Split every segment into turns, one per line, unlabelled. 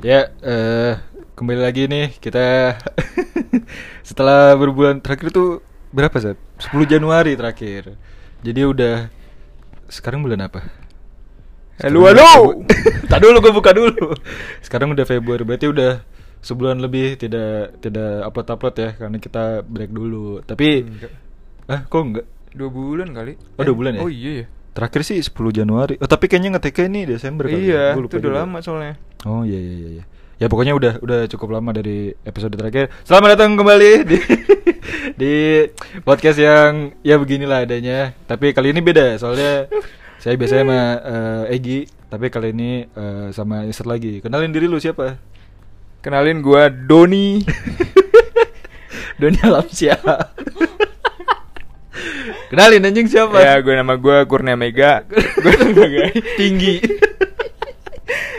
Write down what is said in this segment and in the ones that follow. Ya, eh kembali lagi nih kita setelah berbulan terakhir tuh berapa Zat? 10 Januari terakhir. Jadi udah sekarang bulan apa? Sekarang
Halo, halo.
udah Februari. Tak dulu gue buka dulu. Sekarang udah Februari, berarti udah sebulan lebih tidak tidak upload-upload ya karena kita break dulu. Tapi
Enggak.
ah kok enggak?
Dua bulan kali.
Oh, dua bulan ya?
Oh iya ya.
Terakhir sih 10 Januari. Oh, tapi kayaknya ngeteknya ini Desember kali. ya. Gua
iya, itu
lupa
udah
juga.
lama soalnya.
Oh iya iya iya. iya. Ya pokoknya udah udah cukup lama dari episode terakhir. Selamat datang kembali di di podcast yang ya beginilah adanya. Tapi kali ini beda soalnya saya biasanya sama eh, Egi, tapi kali ini eh, sama Insert lagi. Kenalin diri lu siapa?
Kenalin gua Doni.
Doni Alamsyah. Kenalin anjing siapa?
ya, gua nama gua Kurnia Mega. gua sebagai
tinggi.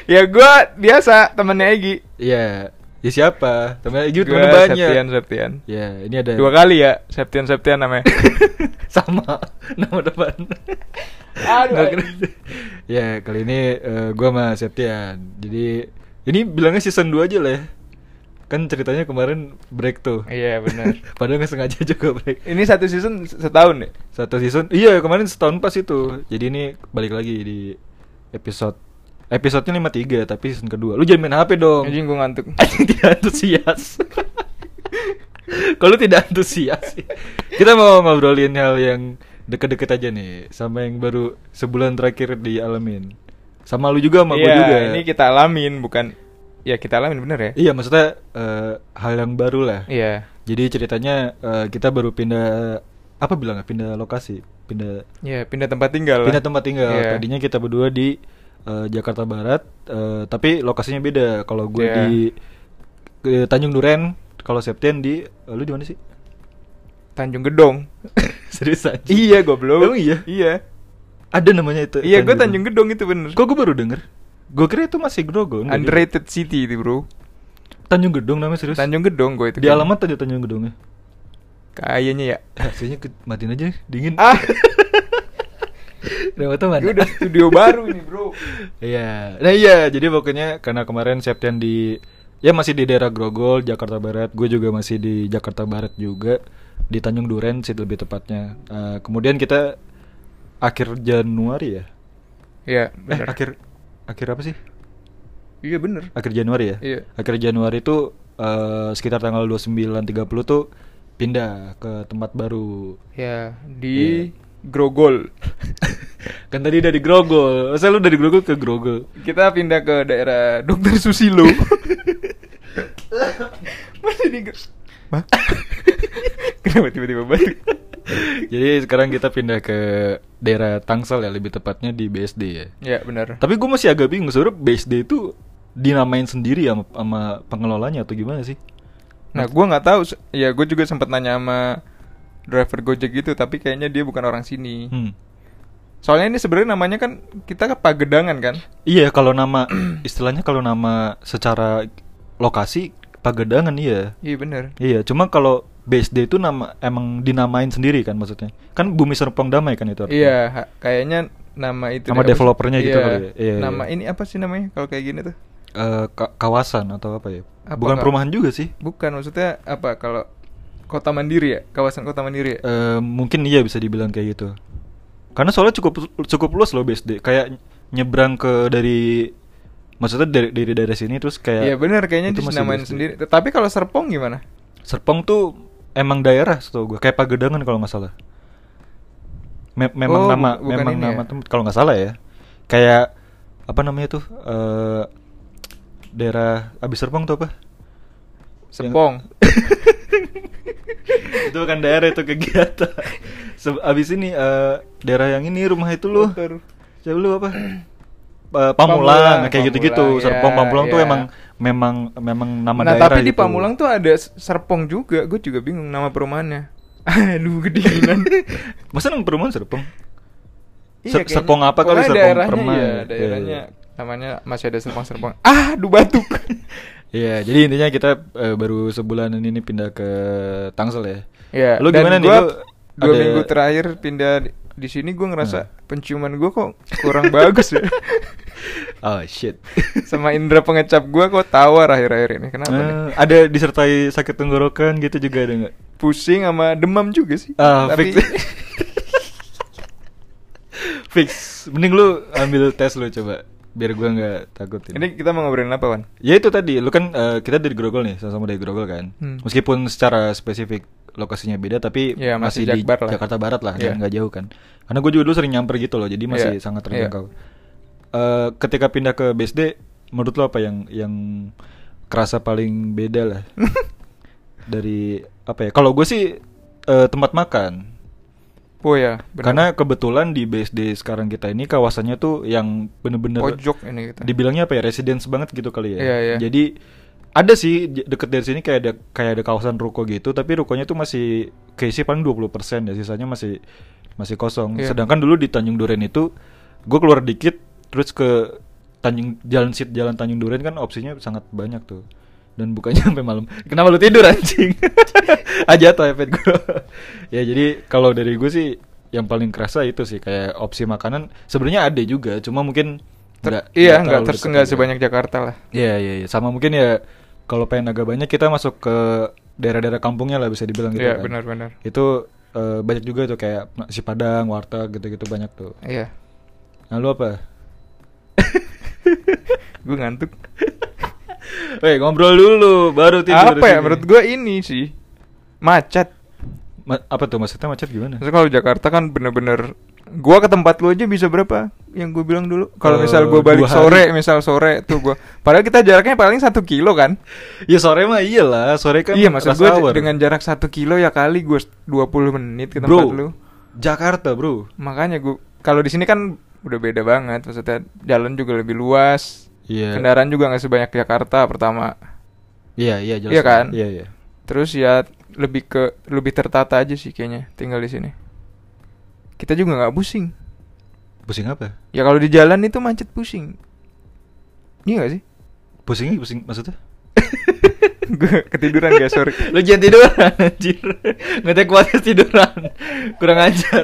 Ya gua biasa temennya Egi.
Iya. Ya siapa? Temen Egi temen
Gua
banyak.
Septian Septian.
Ya, ini ada
Dua kali ya, Septian Septian namanya.
sama nama depan.
Aduh,
Nggak
anjing.
kena. ya kali ini gue sama Septian. Jadi ini bilangnya season 2 aja lah ya. Kan ceritanya kemarin break tuh.
Iya, benar.
Padahal nggak sengaja juga break.
Ini satu season se- setahun ya? deh.
Satu season. Iya kemarin setahun pas itu. Jadi ini balik lagi di episode episodenya 53 tapi season kedua. Lu jangan main HP dong.
Oh. Anjing gua ngantuk.
Anjing tidak antusias. Kalau tidak antusias, kita mau ngobrolin hal yang deket-deket aja nih, sama yang baru sebulan terakhir dialamin. Sama lu juga, sama gue
Iya,
juga. ya.
ini kita alamin bukan Ya kita alamin bener ya.
Iya, maksudnya eh, hal yang baru lah.
Iya.
Jadi ceritanya eh, kita baru pindah apa bilangnya pindah lokasi, pindah
Iya, pindah tempat tinggal. lah.
pindah tempat tinggal.
Iya.
Tadinya kita berdua di eh, Jakarta Barat, eh, tapi lokasinya beda. Kalau gue
Iya.
di ke Tanjung Duren, kalau Septian di eh, lu di mana sih?
Tanjung Gedong.
Serius aja.
iya,
Emang
goblok.
iya?
Iya.
Ada namanya itu.
Iya, gue Tanjung Gedong itu bener.
Kok gue baru denger? Gue kira itu masih Grogo. enggak juga.
Underrated City itu bro.
Tanjung Gedung namanya serius.
Tanjung Gedong gue itu.
Di
kan.
alamat aja Tanjung Gedungnya.
Kayaknya ya.
Ah, Kayaknya ke, matiin aja dingin.
Ah,
Kenapa tuh mana?
ini udah studio baru ini bro.
Iya. Nah iya, jadi pokoknya karena kemarin Septian di ya masih di daerah Grogol, Jakarta Barat. Gue juga masih di Jakarta Barat juga di Tanjung Duren sih lebih tepatnya. Eh, kemudian kita akhir Januari ya.
Iya,
Eh,
bener.
akhir akhir apa sih?
Iya bener.
Akhir Januari ya?
Iya.
Akhir Januari itu eh, sekitar tanggal 29-30 tuh pindah ke tempat baru.
Ya
Iya.
di Grogol.
kan tadi dari Grogol. Masa lu dari Grogol ke Grogol?
Kita pindah ke daerah Dokter Susilo. Masih di Gro-
Hah?
Kenapa tiba-tiba batuk?
Jadi sekarang kita pindah ke daerah Tangsel ya, lebih tepatnya di BSD ya.
Ya bener.
Tapi gue masih agak bingung sebenernya BSD itu dinamain sendiri ya sama, sama pengelolanya atau gimana sih?
Nah, gua nggak tahu. se- Ya, gue juga sempat nanya sama driver Gojek gitu, tapi kayaknya dia bukan orang sini.
Hmm.
Soalnya ini sebenarnya namanya kan kita ke Pagedangan kan?
Iya, kalau nama istilahnya kalau nama secara lokasi Pagedangan iya.
Iya bener.
Iya, cuma kalau BSD itu nama emang dinamain sendiri kan maksudnya. Kan Bumi Serpong Damai kan itu. artinya.
Iya, ha- kayaknya nama itu.
Nama
deh, apa sih?
developernya gitu
Iya,
kali ya? Iya,
Nama
iya.
ini apa sih namanya kalau kayak gini tuh?
Eh, ka- kawasan atau apa ya?
Apa
Bukan
ka-
perumahan juga sih.
Bukan maksudnya apa kalau kota mandiri ya, kawasan kota mandiri ya.
Eh, mungkin iya bisa dibilang kayak gitu. Karena soalnya cukup cukup luas loh BSD. Kayak nyebrang ke dari maksudnya dari dari daerah sini terus kayak
Iya bener kayaknya
itu masih
dinamain
BSD.
sendiri. Tapi kalau Serpong gimana?
Serpong tuh emang daerah setahu gue kayak Pagedangan kalau nggak salah. Me- memang
Oh, bu-
nama
bukan
memang
ini
nama
ya?
tem- kalau nggak salah ya. Kayak apa namanya tuh eh daerah abis Serpong tuh apa?
Serpong.
itu bukan daerah itu kegiatan. Se- abis ini eh daerah yang ini rumah itu lu.
Bentar.
Siapa lu apa? Eh, Pamulang,
Pamulang,
kayak gitu-gitu.
Pamulang,
Serpong
ya,
Pamulang tuh
ya.
emang memang memang nama
nah
daerah
tapi di
gitu.
Pamulang tuh ada S- Serpong juga. Gue juga bingung nama perumahannya. Aduh kedinginan.
Masa nang perumahan Serpong?
Iya,
Ser-
kayaknya.
Serpong apa kali
Pokoknya
Serpong
daerahnya,
Permai.
iya,
Iya,
daerahnya
iya.
namanya masih ada Serpong-Serpong. Ah, aduh batuk.
Iya, jadi intinya kita eh, baru sebulan ini pindah ke Tangsel ya.
Ya,
Lu
dan
gimana nih?
gua
Lu
dua
ada- Nah.
minggu terakhir pindah di, di sini gue ngerasa penciuman gue kok kurang bagus ya.
Oh shit.
sama indera pengecap gua kok tawar akhir-akhir ini kenapa nih
Eh, ada disertai sakit tenggorokan gitu juga ada nggak?
pusing sama demam juga sih
Ah,
tapi
fix. Fix. Mending lu ambil tes lu coba biar gua nggak takut
ini kita mau ngobrolin apa wan
Ya itu tadi, lu kan eh, kita dari Grogol nih, sama-sama dari Grogol kan.
Hmm.
Meskipun secara spesifik lokasinya beda, tapi
Ya,
masih,
masih
di
Jakbar lah.
Jakarta Barat lah,
Ya.
dan nggak jauh kan. Karena gue juga dulu sering nyamper gitu loh, jadi masih
Ya,
sangat
ya.
terjangkau. Eh, ketika pindah ke BSD, menurut lo apa yang yang kerasa paling beda lah dari apa ya? Kalau gue sih eh, tempat makan.
oh ya benar.
Karena kebetulan di BSD sekarang kita ini kawasannya tuh yang bener-bener
pojok ini kita
dibilangnya apa ya residence banget gitu kali ya.
gitu. Iya, iya.
Jadi ada sih j- deket dari sini kayak ada kayak ada kawasan ruko gitu, tapi rukonya tuh masih keisi paling 20% ya, sisanya masih masih kosong.
Iya.
Sedangkan dulu di Tanjung Duren itu gue keluar dikit terus ke Tanjung Jalan Sit Jalan Tanjung Duren kan opsinya sangat banyak tuh. Dan bukannya sampai malam. Kenapa lu tidur anjing? Aja tuh iPad gue. ya jadi kalau dari gue sih yang paling kerasa itu sih kayak opsi makanan sebenarnya ada juga, cuma mungkin
Ter-
nggak- nggak
iya nggak
terlalu
terus
deket
nggak
juga.
sebanyak Jakarta lah
Iya iya iya. sama mungkin ya kalau pengen agak banyak kita masuk ke daerah-daerah kampungnya lah bisa dibilang gitu
Iya,
kan.
benar-benar.
Itu eh, banyak juga tuh kayak nasi padang, warteg gitu-gitu banyak tuh.
iya
Nah lu apa?
gue ngantuk Eh,
Weh ngobrol dulu baru tidur.
apa ya
sini.
menurut gue ini sih macet
Ma- apa tuh maksudnya macet gimana?
Maksudnya kalau Jakarta kan bener-bener gua ke tempat lu aja bisa berapa? Yang gue bilang dulu. Kalau
Eh,
misal gua balik
dua hari.
sore, misal sore tuh gua. Padahal kita jaraknya paling satu kilo kan?
Ya sore mah iyalah, sore kan
iya, maksud
rush
gue
hour.
dengan jarak satu kilo ya kali gue 20 menit ke tempat
Bro,
lu.
Jakarta, Bro.
Makanya gue kalau di sini kan udah beda banget. Maksudnya jalan juga lebih luas.
Iya.
Kendaraan juga nggak sebanyak Jakarta pertama.
Iya, iya jelas.
Iya kan?
Iya, iya.
Terus ya lebih ke lebih tertata aja sih kayaknya tinggal di sini. Kita juga nggak pusing.
Pusing apa?
Ya kalau di jalan itu macet pusing. Iya gak sih?
Pusingnya pusing maksudnya?
Gue ketiduran gak sorry.
Lu jangan tiduran anjir Ngetek podcast tiduran Kurang ajar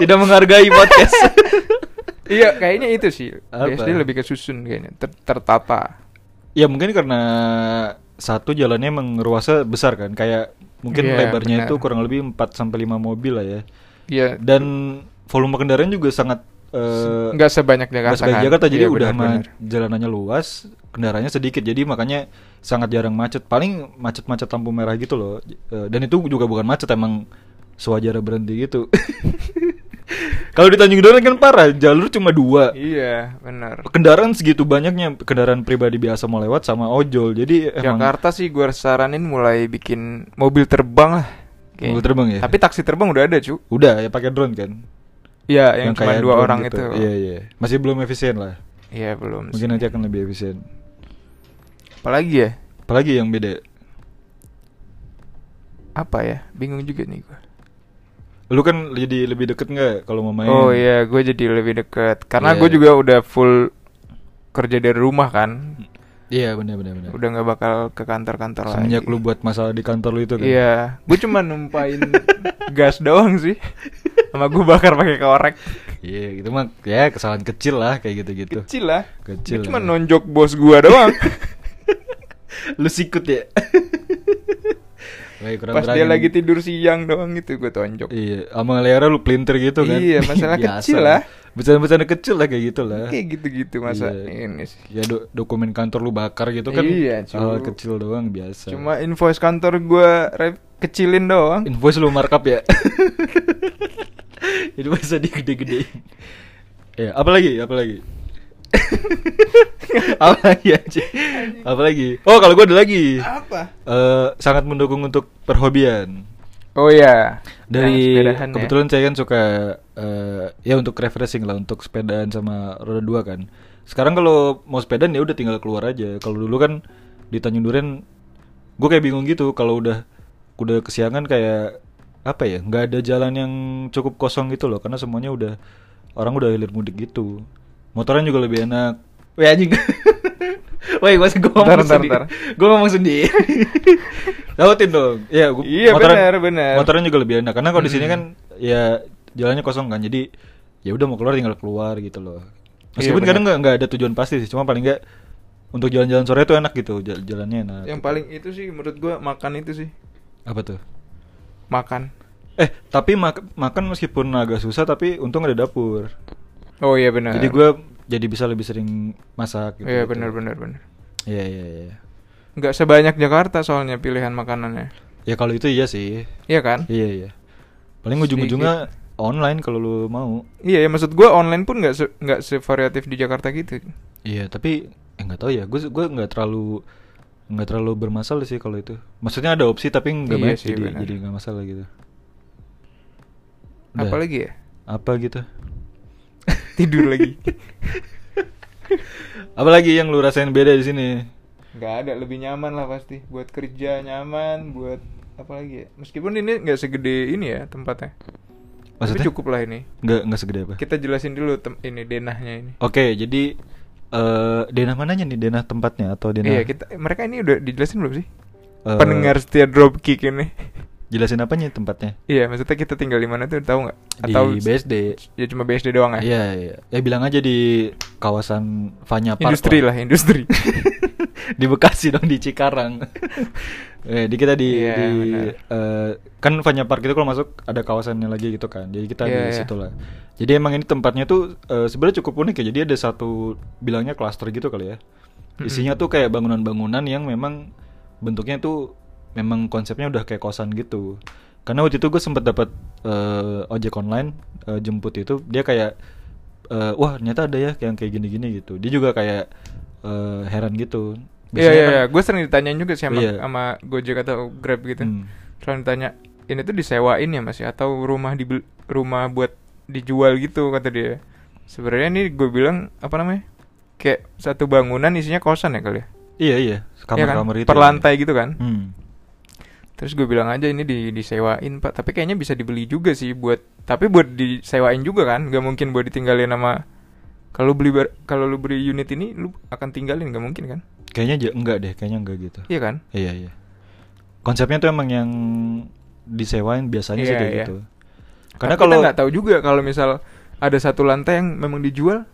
Tidak menghargai podcast
iya, kayaknya itu sih.
Apa?
BSD lebih ke susun kayaknya, ter- tertata.
Ya mungkin karena Satu jalannya emang ruasnya besar kan Kayak mungkin
Iya,
lebarnya
benar.
itu kurang lebih 4-5 mobil lah ya
Iya.
Dan volume kendaraan juga sangat eh,
nggak sebanyak Jakarta.
nggak sebanyak
kan?
Jakarta jadi
Iya,
udah mah
benar-benar.
jalanannya luas, kendaraannya sedikit. Jadi makanya sangat jarang macet. Paling macet-macet lampu merah gitu loh. Eh, Dan itu juga bukan macet emang sewajarnya berhenti gitu. Kalau di Tanjung Duren kan parah, jalur cuma dua.
Iya, benar.
Kendaraan segitu banyaknya kendaraan pribadi biasa mau lewat sama ojol. Jadi iya, emang
Jakarta sih gue saranin mulai bikin mobil terbang lah. kayaknya.
Mobil terbang ya?
Tapi taksi terbang udah ada, cu.
udah ya pakai drone kan.
Iya, yang, cuma
kayak
dua
drone
orang
gitu.
itu.
Iya, iya. Masih belum efisien lah.
Iya, belum.
Mungkin
sih.
nanti akan lebih efisien.
Apalagi ya?
Apalagi yang beda.
Apa ya? Bingung juga nih gue.
Lu kan jadi lebih deket nggak kalau mau main?
Oh iya, gue jadi lebih deket. Karena
Iya.
gue juga udah full kerja dari rumah kan.
Iya benar benar benar.
Udah nggak bakal ke kantor-kantor lagi.
Semenjak lu buat masalah di kantor lu itu kan.
Iya, gue cuma numpain gas doang sih. Sama gue bakar pakai korek.
Iya gitu mah ya kesalahan kecil lah kayak gitu-gitu.
Kecil lah.
Kecil
Gua cuma
lah.
nonjok bos gue doang.
lu sikut ya. Wah, kurang
Pas dia
berani.
lagi tidur siang doang gitu gue tonjok.
Iya, sama Lera lu pelintir gitu kan.
Iya, masalah
Biasa
kecil lah.
Bercanda-bercanda kecil lah kayak gitu lah.
Kayak gitu-gitu masa
Iya.
ini sih.
Ya do- dokumen kantor lu bakar gitu kan.
Iya, cu.
hal kecil doang biasa.
Cuma invoice kantor gue kecilin doang.
Invoice lu markup ya. Jadi bisa digede-gedein. Ya, apalagi, apalagi. apalagi aja. Apalagi. Oh, kalau gue ada lagi.
Apa?
Eh, sangat mendukung untuk perhobian.
Oh iya.
Dari
Yang sepedahan ya.
kebetulan saya kan suka eh, ya untuk refreshing lah untuk sepedaan sama roda dua kan. Sekarang kalau mau sepedaan ya udah tinggal keluar aja. Kalau dulu kan di Tanjung Duren gue kayak bingung gitu kalau udah udah kesiangan kayak apa ya nggak ada jalan yang cukup kosong gitu loh karena semuanya udah orang udah hilir mudik gitu motoran juga lebih enak Weh anjing Weh gue gue
Ntar,
ngomong
ntar,
sendiri
ntar.
Gue ngomong sendiri Tautin dong Iya gua-
Iya, benar, benar.
Motoran juga lebih enak Karena kalau di sini
Mm.
kan Ya jalannya kosong kan Jadi ya udah mau keluar tinggal keluar gitu loh Meskipun
Iya,
kadang
benar.
nggak nggak ada tujuan pasti sih, cuma paling nggak untuk jalan-jalan sore itu enak gitu, jal- jalannya enak.
Yang paling itu sih menurut gua makan itu sih.
apa tuh?
Makan.
Eh, tapi mak- makan meskipun agak susah tapi untung ada dapur.
Oh iya benar.
Jadi gue jadi bisa lebih sering masak gitu.
Iya benar benar benar.
Iya iya iya.
Nggak sebanyak Jakarta soalnya pilihan makanannya.
Ya kalau itu iya sih.
Iya kan?
Iya iya. Paling ujung-ujungnya online kalau lu mau.
Iya, ya maksud gua online pun nggak se- nggak sevariatif di Jakarta gitu.
Iya, tapi eh nggak tahu ya. Gue gue nggak terlalu nggak terlalu bermasalah sih kalau itu. Maksudnya ada opsi tapi nggak
Iya
banyak
sih,
jadi
benar.
jadi nggak masalah gitu. Udah.
Apalagi ya?
Apa gitu?
Tidur lagi.
Apalagi yang lu rasain beda di sini?
Nggak ada lebih nyaman lah pasti buat kerja nyaman, buat apa lagi ya? Meskipun ini nggak segede ini ya tempatnya.
Maksudnya?
Tapi cukup lah ini.
Nggak nggak segede apa?
Kita jelasin dulu tem- ini denahnya ini.
Oke, jadi eh denah mananya nih? Denah tempatnya atau denah?
Iya, kita mereka ini udah dijelasin belum sih?
eh,
Pendengar setia Dropkick ini.
Jelasin apanya tempatnya?
Iya, maksudnya kita tinggal di mana tuh tahu nggak?
Di BSD.
Ya cuma BSD doang ya.
Iya, iya. Ya bilang aja di kawasan Vanya Park.
Industri lah, ya. industri. Iya,
di Bekasi dong, di Cikarang. eh, di kita di,
Iya,
di,
benar.
eh, kan Vanya Park itu kalau masuk ada kawasannya lagi gitu kan. Jadi kita di
Iya, iya.
situ lah. Jadi emang ini tempatnya tuh eh, sebenarnya cukup unik ya. Jadi ada satu bilangnya klaster gitu kali ya. Isinya tuh kayak bangunan-bangunan yang memang bentuknya tuh memang konsepnya udah kayak kosan gitu. Karena waktu itu gue sempet dapat eh, ojek online eh, jemput itu dia kayak eh, wah ternyata ada ya yang kayak gini-gini gitu. Dia juga kayak eh, heran gitu.
Iya,
Biasanya
iya,
kan-
iya. Gue sering ditanyain juga sih sama,
Iya.
sama Gojek atau Grab gitu.
Hmm.
Selalu ditanya, ini tuh disewain ya masih atau rumah di rumah buat dijual gitu kata dia. Sebenarnya ini gue bilang apa namanya? Kayak satu bangunan isinya kosan ya kali ya.
Iya iya.
Iya kan?
Kamar-kamar itu.
Per lantai gitu kan.
Hmm.
Terus gue bilang aja ini di, disewain pak Tapi kayaknya bisa dibeli juga sih buat Tapi buat disewain juga kan Gak mungkin buat ditinggalin sama Kalau beli bar- kalau lu beli unit ini Lu akan tinggalin gak mungkin kan
Kayaknya aja enggak deh, kayaknya enggak gitu.
Iya kan
Iya iya. Konsepnya tuh emang yang disewain biasanya sih
Iya,
kayak
iya.
gitu. Karena
Tapi
kalau
Kita gak tahu juga kalau misal Ada satu lantai yang memang dijual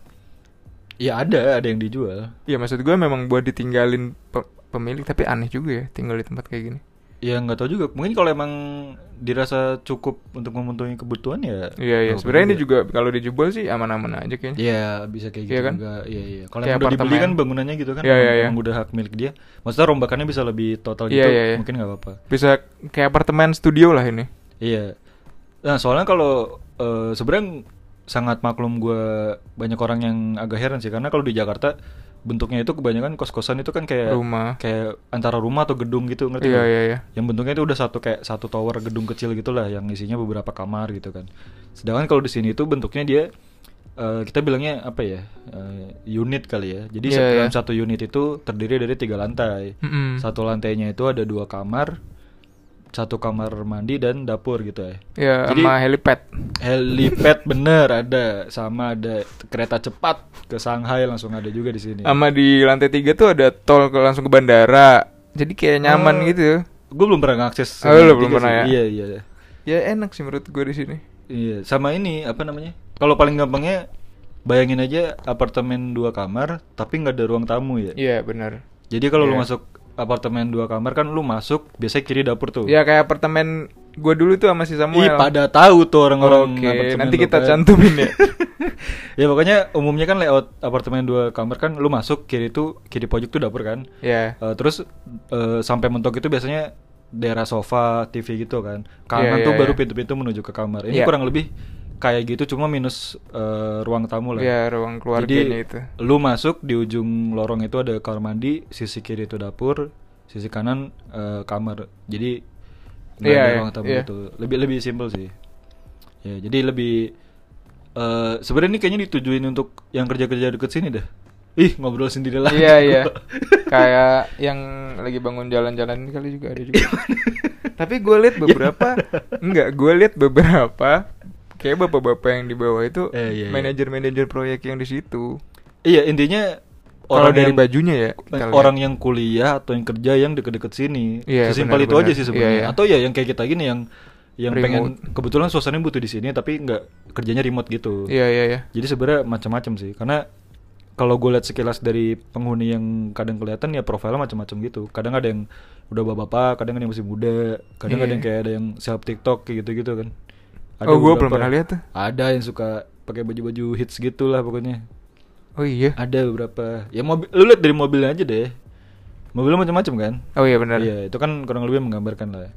ya ada ada yang dijual.
Ya maksud gue memang buat ditinggalin pe- pemilik Tapi aneh juga ya tinggal di tempat kayak gini
Ya nggak tahu juga. Mungkin kalau emang dirasa cukup untuk memenuhi kebutuhan ya.
Iya iya
nggak
Sebenarnya ini
apa-apa
juga kalau dijual sih aman-aman aja kayaknya
Iya bisa kayak
Iya
gitu
kan?
juga. Iya iya. Kalau
Kayak
emang udah dibeli
apartemen.
kan bangunannya gitu kan.
Iya, iya, iya.
Emang udah hak milik dia. Maksudnya rombakannya bisa lebih total gitu.
Iya, iya, iya.
Mungkin nggak apa-apa.
Bisa kayak apartemen studio lah ini
Iya. Nah soalnya kalau eh, sebenarnya sangat maklum gue banyak orang yang agak heran sih karena kalau di Jakarta bentuknya itu kebanyakan kos-kosan itu kan kayak
Rumah
kayak antara rumah atau gedung gitu ngerti
Iya
nggak?
iya iya
yang bentuknya itu udah satu kayak satu tower gedung kecil gitulah yang isinya beberapa kamar gitu kan sedangkan kalau di sini itu bentuknya dia eh, kita bilangnya apa ya eh, unit kali ya jadi
Iya,
satu- dalam
iya.
satu unit itu terdiri dari tiga lantai
Mm-mm.
satu lantainya itu ada dua kamar satu kamar mandi dan dapur gitu ya
Ya,
Jadi-
sama helipad.
helipad bener ada sama ada kereta cepat ke Shanghai langsung ada juga di sini
Sama di lantai tiga tuh ada tol ke langsung ke bandara. Jadi kayak nyaman
Oh.
gitu.
gue belum pernah ngakses
Oh, lu
lantai
belum
tiga
pernah
sih.
ya?
iya iya
Ya enak sih menurut gue di sini.
Iya, sama ini apa namanya? Kalau paling gampangnya bayangin aja apartemen dua kamar tapi nggak ada ruang tamu ya.
Iya, benar.
Jadi kalau lu
Iya.
masuk apartemen dua kamar kan lu masuk biasanya kiri dapur tuh.
Ya kayak apartemen gue dulu tuh sama
Ih,
si Samuel.
Iya, pada tahu tuh orang-orang
ya. Oke,
apartemen
nanti
lu
kita
kan.
cantumin ya.
ya pokoknya umumnya kan layout apartemen dua kamar kan lu masuk kiri tuh kiri pojok tuh dapur kan.
Ya.
Eh, terus eh, sampai mentok itu biasanya daerah sofa TV gitu kan kanan
Iya,
tuh
iya,
baru
iya.
pintu-pintu menuju ke kamar ini
Iya.
kurang lebih kayak gitu cuma minus eh, ruang tamu lah
Ya, ruang keluarganya
Jadi,
itu.
lu masuk di ujung lorong itu ada kamar mandi sisi kiri itu dapur sisi kanan eh, kamar jadi nggak
Iya,
ada
iya,
ruang tamu
iya.
gitu lebih lebih simpel sih ya jadi lebih eh sebenarnya ini kayaknya ditujuin untuk yang kerja-kerja deket sini dah ih ngobrol sendiri lagi
Iya, iya.
gua.
kayak yang lagi bangun jalan-jalan ini kali juga ada juga.
Iya,
Tapi gue lihat beberapa enggak, gue lihat beberapa kayak bapak-bapak yang di bawah itu
Eh, iya, iya.
manajer-manajer proyek yang di situ.
Iya intinya orang
Kalau dari
yang-
bajunya ya. kita lihat.
orang yang kuliah atau yang kerja yang deket-deket sini
Iya,
sesimpel itu aja
benar-benar.
sih sebenarnya
Iya, iya.
atau ya yang kayak kita gini yang yang
Remote.
pengen kebetulan suasananya butuh di sini tapi nggak kerjanya remote gitu
Iya iya iya.
jadi sebenarnya macam-macam sih karena kalau gue lihat sekilas dari penghuni yang kadang kelihatan ya profilnya macam-macam gitu. Kadang ada yang udah bapak-bapak, kadang ada yang masih muda, kadang
Iya.
ada yang kayak ada yang seleb TikTok kayak gitu-gitu kan.
Oh, gua
beberapa-
belum pernah lihat tuh.
Ada yang suka pakai baju-baju hits gitulah pokoknya.
Oh iya.
Ada beberapa. Ya mobil lu lihat dari mobilnya aja deh. Mobilnya macam-macam kan?
Oh iya benar.
Iya, itu kan kurang lebih menggambarkan lah. ya.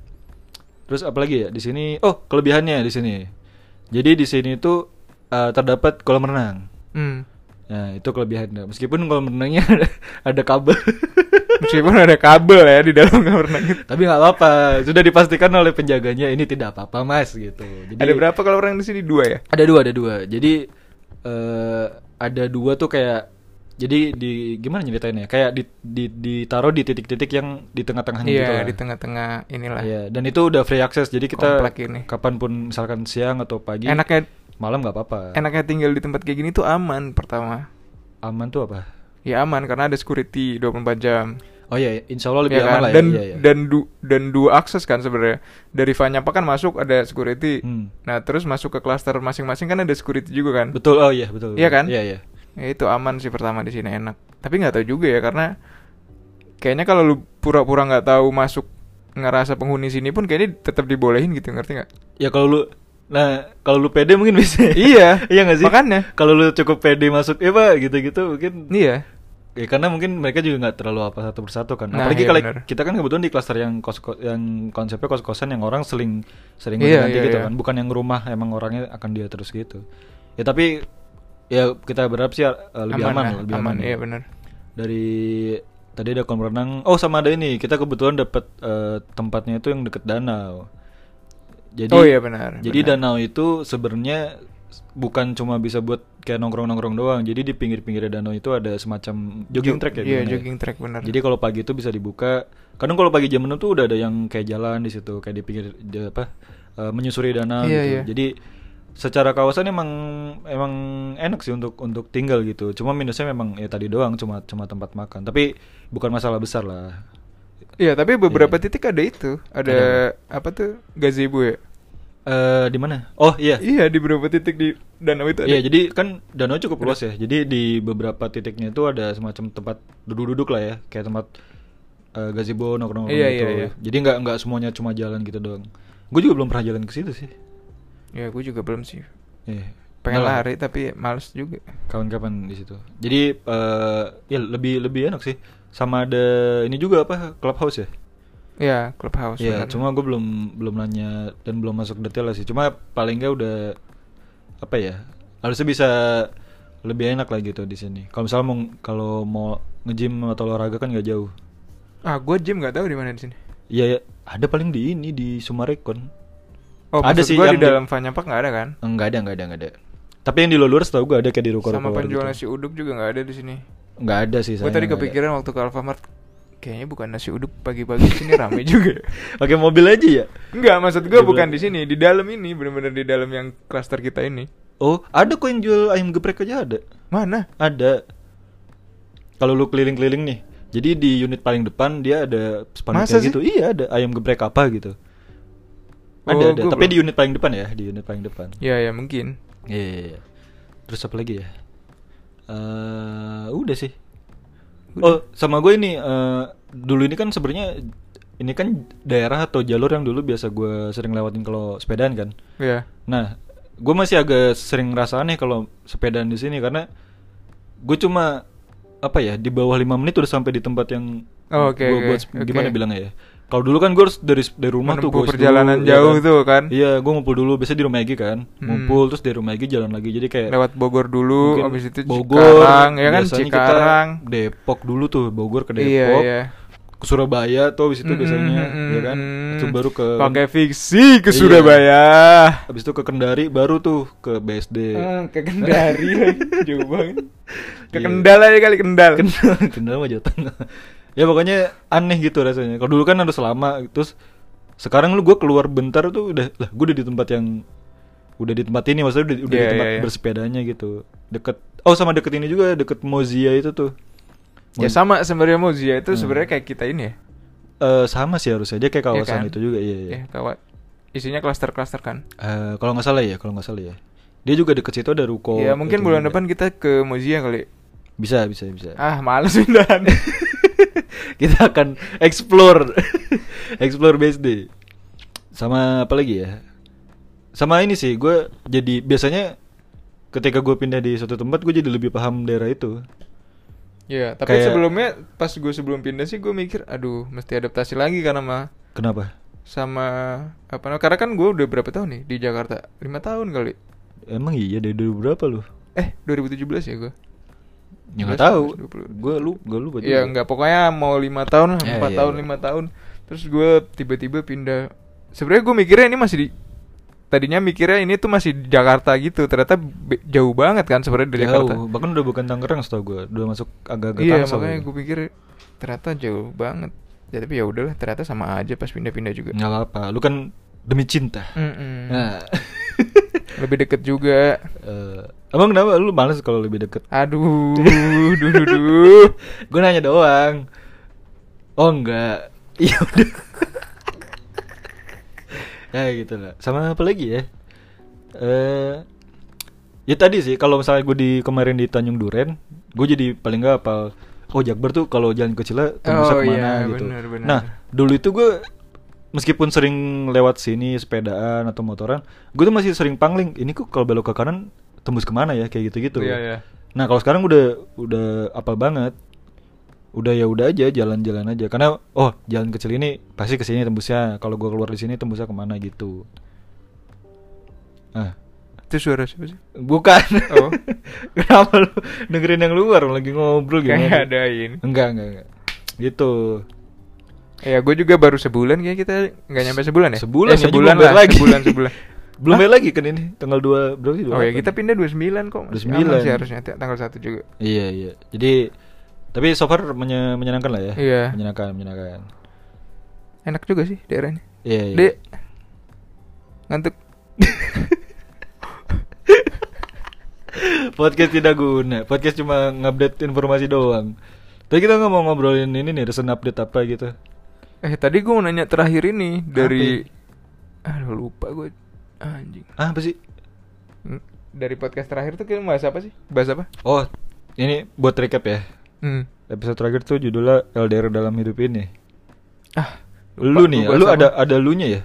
Terus apalagi ya di sini? Oh, kelebihannya di sini. Jadi di sini itu eh, terdapat kolam renang.
Hmm.
Nah, itu kelebihannya. Meskipun kolam renangnya ada, ada kabel.
Meskipun ada kabel ya di dalam kamar mandi.
Tapi nggak apa-apa, sudah dipastikan oleh penjaganya ini tidak apa-apa, Mas gitu. Jadi
Ada berapa kalau orang di sini dua ya?
Ada dua, ada dua. Jadi eh ada dua tuh kayak jadi di gimana nyeritainnya? Kayak di, di ditaruh di titik-titik yang di tengah-tengahnya gitu
Iya
lah.
di tengah-tengah inilah.
Iya, dan itu udah free access jadi kita
Komplek ini.
kapanpun misalkan siang atau pagi
Enaknya
malam nggak apa-apa.
enaknya tinggal di tempat kayak gini tuh aman pertama.
Aman tuh apa?
Ya aman karena ada security 24 jam.
Oh iya, insya Allah lebih
Ya
aman
kan?
lah ya.
Dan
Iya, iya.
dan du- dan dua akses kan sebenarnya. Dari Vanyapa kan masuk ada security.
Hmm.
Nah, terus masuk ke klaster masing-masing kan ada security juga kan.
betul. Oh iya, betul.
Iya kan?
Iya, iya.
Ya, itu aman sih pertama di sini enak. Tapi nggak tahu juga ya karena kayaknya kalau lu pura-pura nggak tahu masuk ngerasa penghuni sini pun kayaknya tetap dibolehin gitu ngerti nggak?
Ya kalau lu nah kalau lu pede mungkin bisa.
Iya.
iya nggak sih?
Makanya.
Kalau lu cukup pede masuk ya Pak gitu-gitu mungkin
Iya.
Ya karena mungkin mereka juga nggak terlalu apa satu persatu kan.
Nah,
Apalagi
iya
kalau
bener.
kita kan kebetulan di klaster yang kos yang konsepnya kos-kosan yang orang seling sering
Iya,
ganti
iya,
gitu
iya.
kan. Bukan yang rumah emang orangnya akan dia terus gitu. Ya tapi ya kita berharap sih eh, lebih aman,
lah,
lah, lebih
aman.
aman. gitu.
Iya benar.
Dari tadi ada kolam renang. Oh sama ada ini. Kita kebetulan dapat eh, tempatnya itu yang deket danau. Jadi
Oh, iya, benar,
Jadi
benar.
danau itu sebenarnya s- bukan cuma bisa buat kayak nongkrong-nongkrong doang. Jadi di pinggir-pinggir danau itu ada semacam jogging
Jo-
track ya.
Iya,
bilangnya ya?
jogging track benar.
Jadi kalau pagi itu bisa dibuka. Kadang kalau pagi jam 6 tuh udah ada yang kayak jalan di situ, kayak di pinggir di apa eh, menyusuri danau
Iya,
gitu.
iya.
Jadi secara kawasan emang emang enak sih untuk untuk tinggal gitu. Cuma minusnya memang ya tadi doang cuma cuma tempat makan. Tapi bukan masalah besar lah.
Iya, tapi beberapa
Iya.
titik ada itu, ada apa tuh gazebo ya?
Eh di mana? Oh iya.
Iya, di beberapa titik di danau itu ada.
Iya, jadi kan danau cukup luas ya. Jadi di beberapa titiknya itu ada semacam tempat duduk-duduk lah ya, kayak tempat eh, gazebo nongkrong
Iya,
gitu.
iya, iya.
Jadi nggak nggak semuanya cuma jalan gitu doang. Gue juga belum pernah jalan ke situ sih.
Ya, gue juga belum sih.
Iya.
Pengen
Nah,
lari tapi males juga.
Kawan-kawan di situ. Jadi eh ya lebih lebih enak sih. Sama ada ini juga apa clubhouse ya?
Ya, clubhouse.
Iya,
benar.
cuma gue belum belum nanya dan belum masuk detail lah sih. Cuma paling nggak udah apa ya? Harusnya bisa lebih enak lah gitu di sini. Kalau misalnya mau kalau mau nge-gym atau olahraga kan nggak jauh.
ah, gue gym nggak tahu di mana di sini.
Iya, ya, ada paling di ini di Sumarekon.
Oh,
Ada
ada
sih
sih gua
yang
di
di-
dalam Vanyapak nggak ada kan?
Enggak ada, enggak ada, enggak ada. Tapi yang di Lulur setahu gue ada kayak di ruko-ruko
Sama
gitu.
penjual nasi uduk juga nggak ada di sini.
Enggak ada sih
Gue
sayang,
tadi
nggak ada.
kepikiran waktu ke Alfamart kayaknya bukan nasi uduk pagi-pagi di sini rame juga.
Pakai mobil aja ya?
Enggak, maksud gue
Di belakang.
bukan di sini, di dalam ini, bener-bener di dalam yang klaster kita ini.
Oh, ada kok yang jual ayam geprek aja ada.
Mana?
Ada. Kalau lu keliling-keliling nih. Jadi di unit paling depan dia ada spanduk
Masa
kayak
sih?
gitu. Iya, ada ayam geprek apa gitu. Ada,
Oh,
ada.
gua
Tapi
belum.
di unit paling depan ya, di unit paling depan. Iya,
Ya, ya mungkin.
iya, iya. Terus apa lagi ya? Eh, udah sih. Oh, sama gue ini eh, dulu ini kan sebenarnya ini kan daerah atau jalur yang dulu biasa gue sering lewatin kalau sepedaan kan.
Ya.
Nah, gue masih agak sering ngerasa aneh kalau sepedaan di sini karena gue cuma apa ya di bawah 5 menit udah sampai di tempat yang
Oh, oke,
gua
oke,
buat
oke.
bilangnya bilang ya. Kalau dulu kan gue harus dari dari rumah tuh
Menempuh
gua harus
perjalanan
ya
jauh tuh kan.
Iya, gue ngumpul dulu biasanya di rumah Egi kan.
Hmm.
Ngumpul terus dari rumah Egi jalan lagi. Jadi kayak
Lewat Bogor dulu,
mungkin
habis itu
Bogor,
Cikarang, ya kan
biasanya kita
Cikarang.
Depok dulu tuh, Bogor ke Depok.
Iya, iya.
Ke Surabaya tuh habis itu
Mm-mm,
biasanya
mm-mm,
ya kan.
mm-mm.
Itu baru ke
pakai fiksi
Iya.
ke Surabaya.
Habis itu ke Kendari baru tuh ke BSD.
Hmm, ke Kendari lagi, jauh banget. Ke
Iya.
Kendal aja kali Kendal.
Kendal, Kendal mah Jawa Tengah. Ya pokoknya aneh gitu rasanya. Kalau dulu kan harus lama, terus sekarang lu gue keluar bentar tuh udah lah gue udah di tempat yang udah di tempat ini maksudnya udah, udah
Iya,
di tempat
iya, iya.
bersepedanya gitu. Deket oh sama deket ini juga deket Mozia itu tuh.
Ya
Mo-
sama sebenarnya Mozia itu
Hmm.
sebenarnya kayak kita ini ya.
Eh, sama sih harusnya dia kayak
Iya
kawasan
kan?
itu juga iya iya.
Ya, kawan. Isinya klaster-klaster kan.
Eh, kalau nggak salah ya, kalau nggak salah ya. Dia juga Iya. deket situ ada ruko.
ya
itu
mungkin bulan
juga.
depan kita ke Mozia kali.
Bisa, bisa, bisa.
Ah, males pindahan.
Kita akan explore explore BSD. Sama apa lagi ya? Sama ini sih, gue jadi biasanya ketika gue pindah di suatu tempat gue jadi lebih paham daerah itu.
Iya, tapi
Kayak-
sebelumnya pas gue sebelum pindah sih gue mikir, aduh, mesti adaptasi lagi karena mah
Kenapa?
sama apa namanya? Karena kan gue udah berapa tahun nih di Jakarta? 5 tahun kali.
Emang iya dari dulu berapa lu?
Eh, 2017 ya gue.
Ya nggak
19,
tahu.
20.
Gue lu, gue lupa juga.
Iya, nggak pokoknya mau lima tahun, lah,
Iya,
empat
iya,
tahun,
iya.
lima tahun. Terus gue tiba-tiba pindah. Sebenarnya gue mikirnya ini masih di tadinya mikirnya ini tuh masih di Jakarta gitu. Ternyata be- jauh banget kan sebenarnya dari Jakarta.
Jauh, bahkan udah bukan Tangerang setahu gue, udah masuk agak-agak
Iya,
Tangsel
makanya
gitu.
gue pikir ternyata jauh banget. Ya tapi ya udahlah, ternyata sama aja pas pindah-pindah juga. Hmm.
Nggak apa-apa, lu kan demi cinta.
Mm-mm.
Nah,
Lebih deket juga.
Eh, emang kenapa lu males kalau lebih deket?
Aduh, duh, duh, duh.
gue nanya doang. Oh enggak, iya udah. ya gitu lah. Sama apa lagi ya? Eh, ya tadi sih kalau misalnya gue di kemarin di Tanjung Duren, gue jadi paling nggak apa. Oh Jakbar tuh kalau jalan kecilnya tembusnya
Oh,
kemana
iya,
gitu.
benar, benar.
Nah dulu itu gue meskipun sering lewat sini sepedaan atau motoran, gue tuh masih sering pangling. Ini kok kalau belok ke kanan tembus kemana ya kayak gitu gitu.
Iya, iya.
Nah kalau sekarang udah udah apal banget, udah ya udah aja jalan-jalan aja. Karena oh jalan kecil ini pasti kesini tembusnya. Kalau gue keluar di sini tembusnya kemana gitu. Ah
Itu suara siapa sih?
bukan.
Oh.
Kenapa lu dengerin yang luar lagi ngobrol gimana?
Oh, Kayak ada ini.
Enggak enggak enggak. Gitu.
Ya gue juga baru sebulan kayaknya kita nggak nyampe sebulan ya.
Sebulan
Eh,
ya, juga
sebulan lah,
bayar lagi.
sebulan sebulan.
Belum
Hah?
bayar lagi kan ini tanggal 2 berapa sih?
Oh ya
28?
kita pindah 29 kok. Masih
29.
aman sih harusnya t- tanggal 1 juga.
Iya iya. Jadi tapi so far menye- menyenangkan lah ya.
Iya.
Menyenangkan menyenangkan.
Enak juga sih daerahnya.
Iya iya.
Dek. Ngantuk.
Podcast tidak guna. Podcast cuma ngupdate informasi doang. Tapi kita nggak mau ngobrolin ini nih, recent update apa gitu.
Eh tadi gue mau nanya terakhir ini dari Aduh lupa gue anjing.
Ah, apa sih?
Hmm, Dari podcast terakhir tuh kita bahas apa sih? Bahas apa?
Oh, ini buat recap ya.
Hmm.
Episode terakhir tuh judulnya LDR dalam hidup ini.
Ah,
Lu nih, ya,
gua bahas
lu
apa?
ada ada lu nya ya?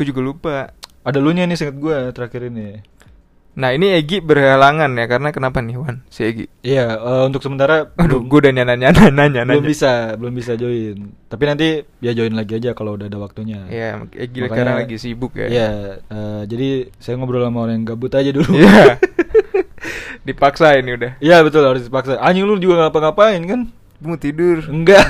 Gue juga lupa.
Ada lu nya nih singkat gue terakhir ini.
Nah, ini Egi berhalangan ya karena kenapa nih Wan? Si Egi.
Iya, eh, untuk sementara belum-
Aduh, gue udah nanya nanya nanya
belum
nanya.
bisa, belum bisa join. Tapi nanti ya join lagi aja kalau udah ada waktunya. Nah.
Iya, Egi
Makanya-
sekarang lagi sibuk ya.
Iya, eh, jadi saya ngobrol sama orang yang gabut aja dulu.
Iya. Dipaksa ini udah.
Iya betul harus dipaksa. Anjing lu juga ngapa-ngapain kan?
Mau tidur.
Enggak.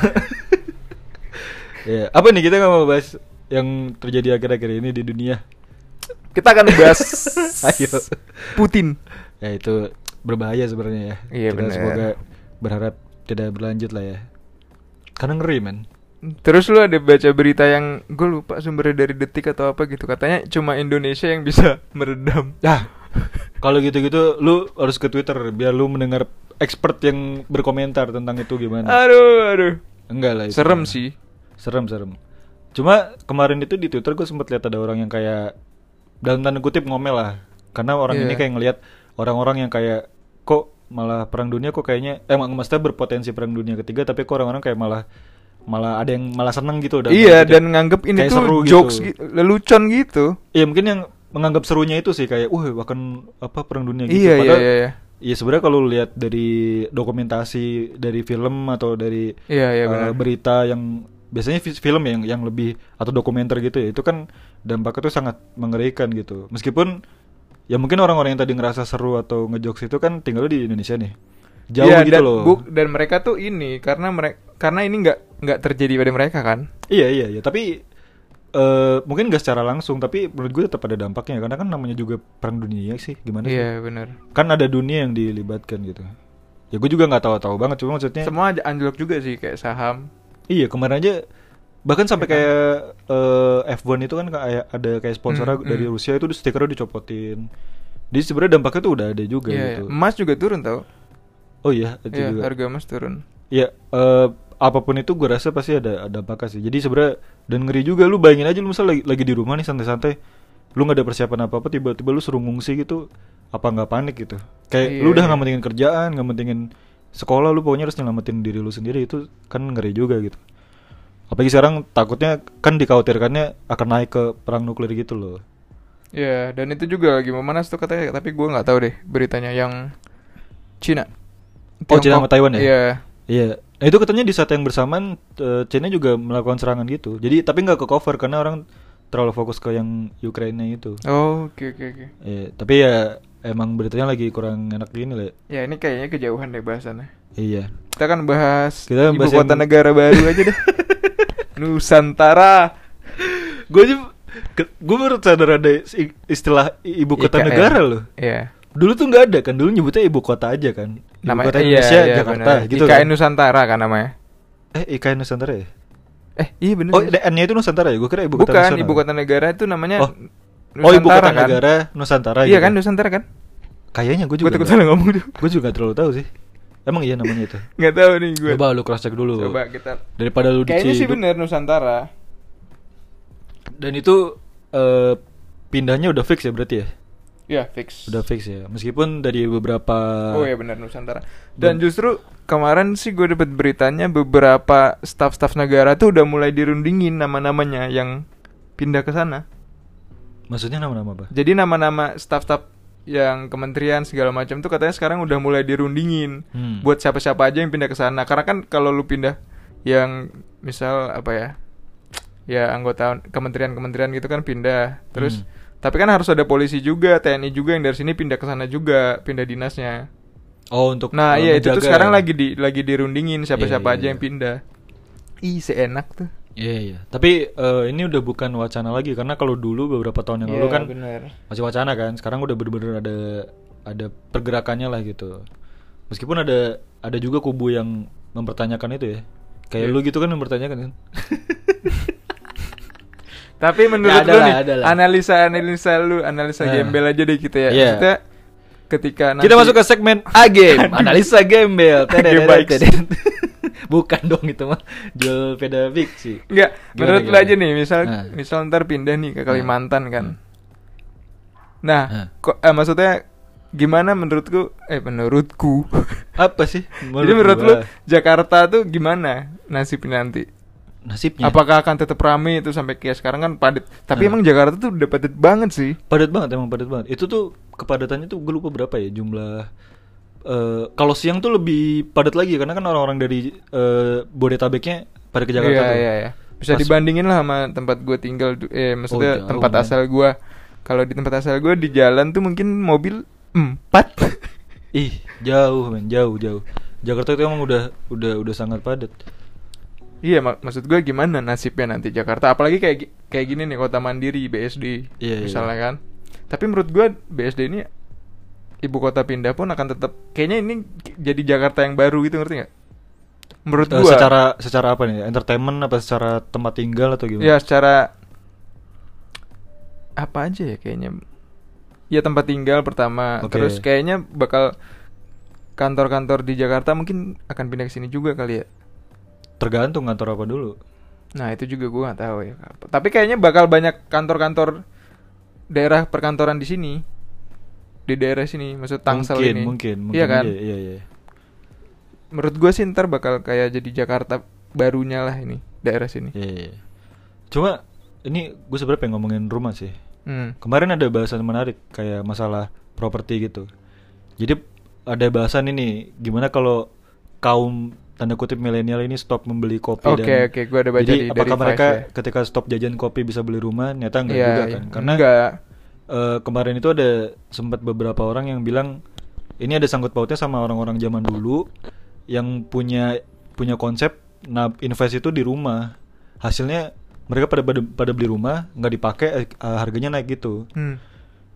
ya, apa nih kita nggak mau bahas yang terjadi akhir-akhir ini di dunia?
Kita akan bahas
Ayo.
Putin.
Ya itu berbahaya sebenarnya ya.
Iya,
kita
bener.
semoga berharap tidak berlanjut lah ya. Karena ngeri men.
Terus lu ada baca berita yang gue lupa sumbernya dari detik atau apa gitu katanya cuma Indonesia yang bisa meredam.
Yah. Kalau gitu-gitu lu harus ke Twitter biar lu mendengar expert yang berkomentar tentang itu gimana.
Aduh, aduh.
Enggak lah itu.
Serem sih.
Serem serem. Cuma kemarin itu di Twitter gue sempet lihat ada orang yang kayak dalam tanda kutip ngomel lah. Karena orang
Iya.
ini kayak ngelihat orang-orang yang kayak kok malah perang dunia kok kayaknya emang maksudnya berpotensi perang dunia ketiga tapi kok orang-orang kayak malah malah ada yang malah seneng gitu dalam tanda
iya,
kutip.
dan nganggep ini
Kayak
tuh
seru
jokes
gitu.
gitu. lelucon gitu.
Iya mungkin yang menganggap serunya itu sih kayak wah bahkan apa perang dunia gitu
Iya, iya,
Padahal-
iya, iya.
Iya sebenarnya kalau lu lihat dari dokumentasi dari film atau dari
Iya, iya,
eh,
benar.
berita yang biasanya fi- film yang yang lebih atau dokumenter gitu ya itu kan dampaknya tuh sangat mengerikan gitu. Meskipun ya mungkin orang-orang yang tadi ngerasa seru atau ngejokes itu kan tinggal di Indonesia nih. Jauh
Iya,
gitu
dan,
loh.
bu- dan mereka tuh ini karena mereka karena ini nggak nggak terjadi pada mereka kan.
Iya iya iya tapi eh mungkin gak secara langsung tapi menurut gue tetap ada dampaknya karena kan namanya juga perang dunia sih gimana sih?
Iya, benar.
Kan ada dunia yang dilibatkan gitu. Ya gue juga nggak tahu-tahu banget cuma maksudnya
Semua aja anjlok juga sih kayak saham.
Iya kemarin aja bahkan sampai
Iya kan?
kayak eh, F1 itu kan kayak ada kayak sponsor
Hmm,
dari
hmm.
Rusia itu stikernya dicopotin. Jadi sebenarnya dampaknya tuh udah ada juga
Iya,
gitu.
iya. emas juga turun tau.
Oh iya itu
Iya,
juga.
harga emas turun.
Iya eh, apapun itu gue rasa pasti ada ada dampaknya sih. Jadi sebenarnya dan ngeri juga lu bayangin aja lu misalnya lagi, lagi di rumah nih santai-santai lu nggak ada persiapan apa-apa tiba-tiba lu suruh ngungsi gitu apa nggak panik gitu kayak
Iya,
lu udah
iya.
nggak mentingin kerjaan nggak mentingin sekolah lu pokoknya harus nyelamatin diri lu sendiri itu kan ngeri juga gitu apalagi sekarang takutnya kan dikhawatirkannya akan naik ke perang nuklir gitu loh
Ya, dan itu juga lagi memanas tuh katanya, tapi gua nggak tahu deh beritanya yang Cina.
Oh, Cina sama Taiwan
Tiongkok.
ya?
Iya.
Iya. Nah, itu katanya di saat yang bersamaan eh, China juga melakukan serangan gitu. Jadi tapi nggak ke cover karena orang terlalu fokus ke yang Ukraina itu.
Oh, oke oke oke.
Eh, tapi ya emang beritanya lagi kurang enak gini lah.
Ya, ini kayaknya kejauhan deh bahasannya.
Iya.
Kita kan bahas
Kita
ibu
bahas
kota
yang-
negara baru aja deh. Nusantara.
Gue aja gue baru sadar ada is- istilah i- ibu kota
IKN.
negara loh.
Ya, Iya.
Dulu tuh nggak ada kan. Dulu nyebutnya ibu kota aja kan. Ibu
Nama
kota
iya,
Indonesia
iya,
Jakarta
bener.
gitu.
IKN
kan.
Nusantara kan namanya.
eh IKN Nusantara ya?
Eh, iya bener.
Oh, N-nya itu Nusantara ya? Gue kira ibu kota
Bukan
nasional.
ibu kota negara itu namanya kan?
Oh. Oh, ibu kota negara Nusantara
Iya
gitu.
kan Nusantara kan?
Kayaknya gue
Gue
juga.
takut
nggak-
salah ngomong tuh.
Gue juga nggak terlalu tahu sih. Emang iya namanya itu.
Nggak tahu nih gue.
Coba lu cross check dulu.
Coba kita
Daripada lu
Kayaknya sih
diciduk.
bener Nusantara.
Dan itu eh, pindahnya udah fix ya berarti ya?
Ya, fix.
Udah fix ya. Meskipun dari beberapa
Oh ya benar Nusantara. Dan justru kemarin sih gue dapat beritanya beberapa staff-staff negara tuh udah mulai dirundingin nama-namanya yang pindah ke sana.
Maksudnya nama-nama apa?
Jadi nama-nama staff-staff yang kementerian segala macam tuh katanya sekarang udah mulai dirundingin
Hmm.
buat siapa-siapa aja yang pindah ke sana. Karena kan kalau lu pindah yang misal apa ya? Ya anggota kementerian-kementerian gitu kan pindah. Terus
Hmm.
tapi kan harus ada polisi juga, TNI juga yang dari sini pindah ke sana juga, pindah dinasnya.
Oh, untuk
Nah,
eh,
iya itu tuh
menjaga.
sekarang lagi di lagi dirundingin siapa-siapa
Iya, iya,
aja yang
iya.
pindah. Ih, seenak tuh.
Iya, iya. Tapi eh, ini udah bukan wacana lagi karena kalau dulu beberapa tahun yang lalu
Iya,
kan masih wacana kan sekarang udah bener-bener ada ada pergerakannya lah gitu meskipun ada ada juga kubu yang mempertanyakan itu ya kayak
Iya.
lu gitu kan mempertanyakan kan
Tapi menurut
Ya, ada
lu
lah,
nih,
ada lah.
analisa-analisa lu, analisa
Nah.
gembel aja deh kita ya.
Iya.
Kita ketika Kan nanti
kita masuk ke segmen A game analisa gembel
Game bikes.
Tedet-tedet. bukan dong itu mah jual peda fiksi
Enggak,
Gimana,
menurut lu
gimana?
aja nih, misal
Nah.
misal ntar pindah nih ke Kalimantan kan.
Hmm.
Nah,
Nah.
kok eh, maksudnya gimana menurutku eh menurutku.
apa sih
Jadi menurut lu
gua,
Jakarta tuh gimana nasibnya nanti?
nasibnya
Apakah akan tetap rame itu sampai kayak sekarang kan padat. Tapi
Iya. Nah.
emang Jakarta tuh udah padat banget sih.
padat banget emang padat banget itu tuh kepadatannya tuh gue lupa berapa ya jumlah eh kalau siang tuh lebih padat lagi karena kan orang-orang dari eh Bodetabeknya pada ke Jakarta
Iya,
tuh.
iya, iya. Bisa
Pas-
dibandingin lah sama tempat gue tinggal du- eh
Oh,
maksudnya
jauh,
tempat
men.
asal gue. Kalau di tempat asal gue di jalan tuh mungkin mobil empat.
Ih, jauh men, jauh jauh. Jakarta itu emang udah udah udah sangat padat.
Iya, mak- maksud gue gimana nasibnya nanti Jakarta, apalagi kayak gi- kayak gini nih kota mandiri BSD
Iya, iya.
misalnya kan. Tapi menurut gue BSD ini ibu kota pindah pun akan tetap kayaknya ini ki- jadi Jakarta yang baru gitu ngerti nggak? Menurut
Eh,
gue.
secara secara apa nih? Entertainment apa secara tempat tinggal atau gimana?
Ya secara apa aja ya kayaknya. Ya tempat tinggal pertama,
Oke.
terus kayaknya bakal kantor-kantor di Jakarta mungkin akan pindah ke sini juga kali ya.
Tergantung kantor apa dulu.
Nah itu juga gua nggak tahu ya. Tapi kayaknya bakal banyak kantor-kantor daerah perkantoran di sini, di daerah sini, maksud Tangsel
mungkin,
ini.
Mungkin, mungkin.
Iya kan.
aja, Iya, iya.
Menurut gua sih ntar bakal kayak jadi Jakarta barunya lah ini daerah sini.
Iya, iya. Cuma ini gue sebenarnya pengen ngomongin rumah sih.
Hmm.
Kemarin ada bahasan menarik kayak masalah properti gitu. Jadi ada bahasan ini gimana kalau kaum tanda kutip milenial ini stop membeli kopi
Oke,
dan
oke, gua ada baca
jadi
di- dari
apakah
Vice
mereka
ya.
ketika stop jajan kopi bisa beli rumah nyata enggak
Iya,
juga
iya.
kan karena
Enggak.
eh, kemarin itu ada sempat beberapa orang yang bilang ini ada sangkut pautnya sama orang-orang zaman dulu yang punya punya konsep nah invest itu di rumah hasilnya mereka pada pada, pada beli rumah nggak dipakai eh, eh, harganya naik gitu
Hmm.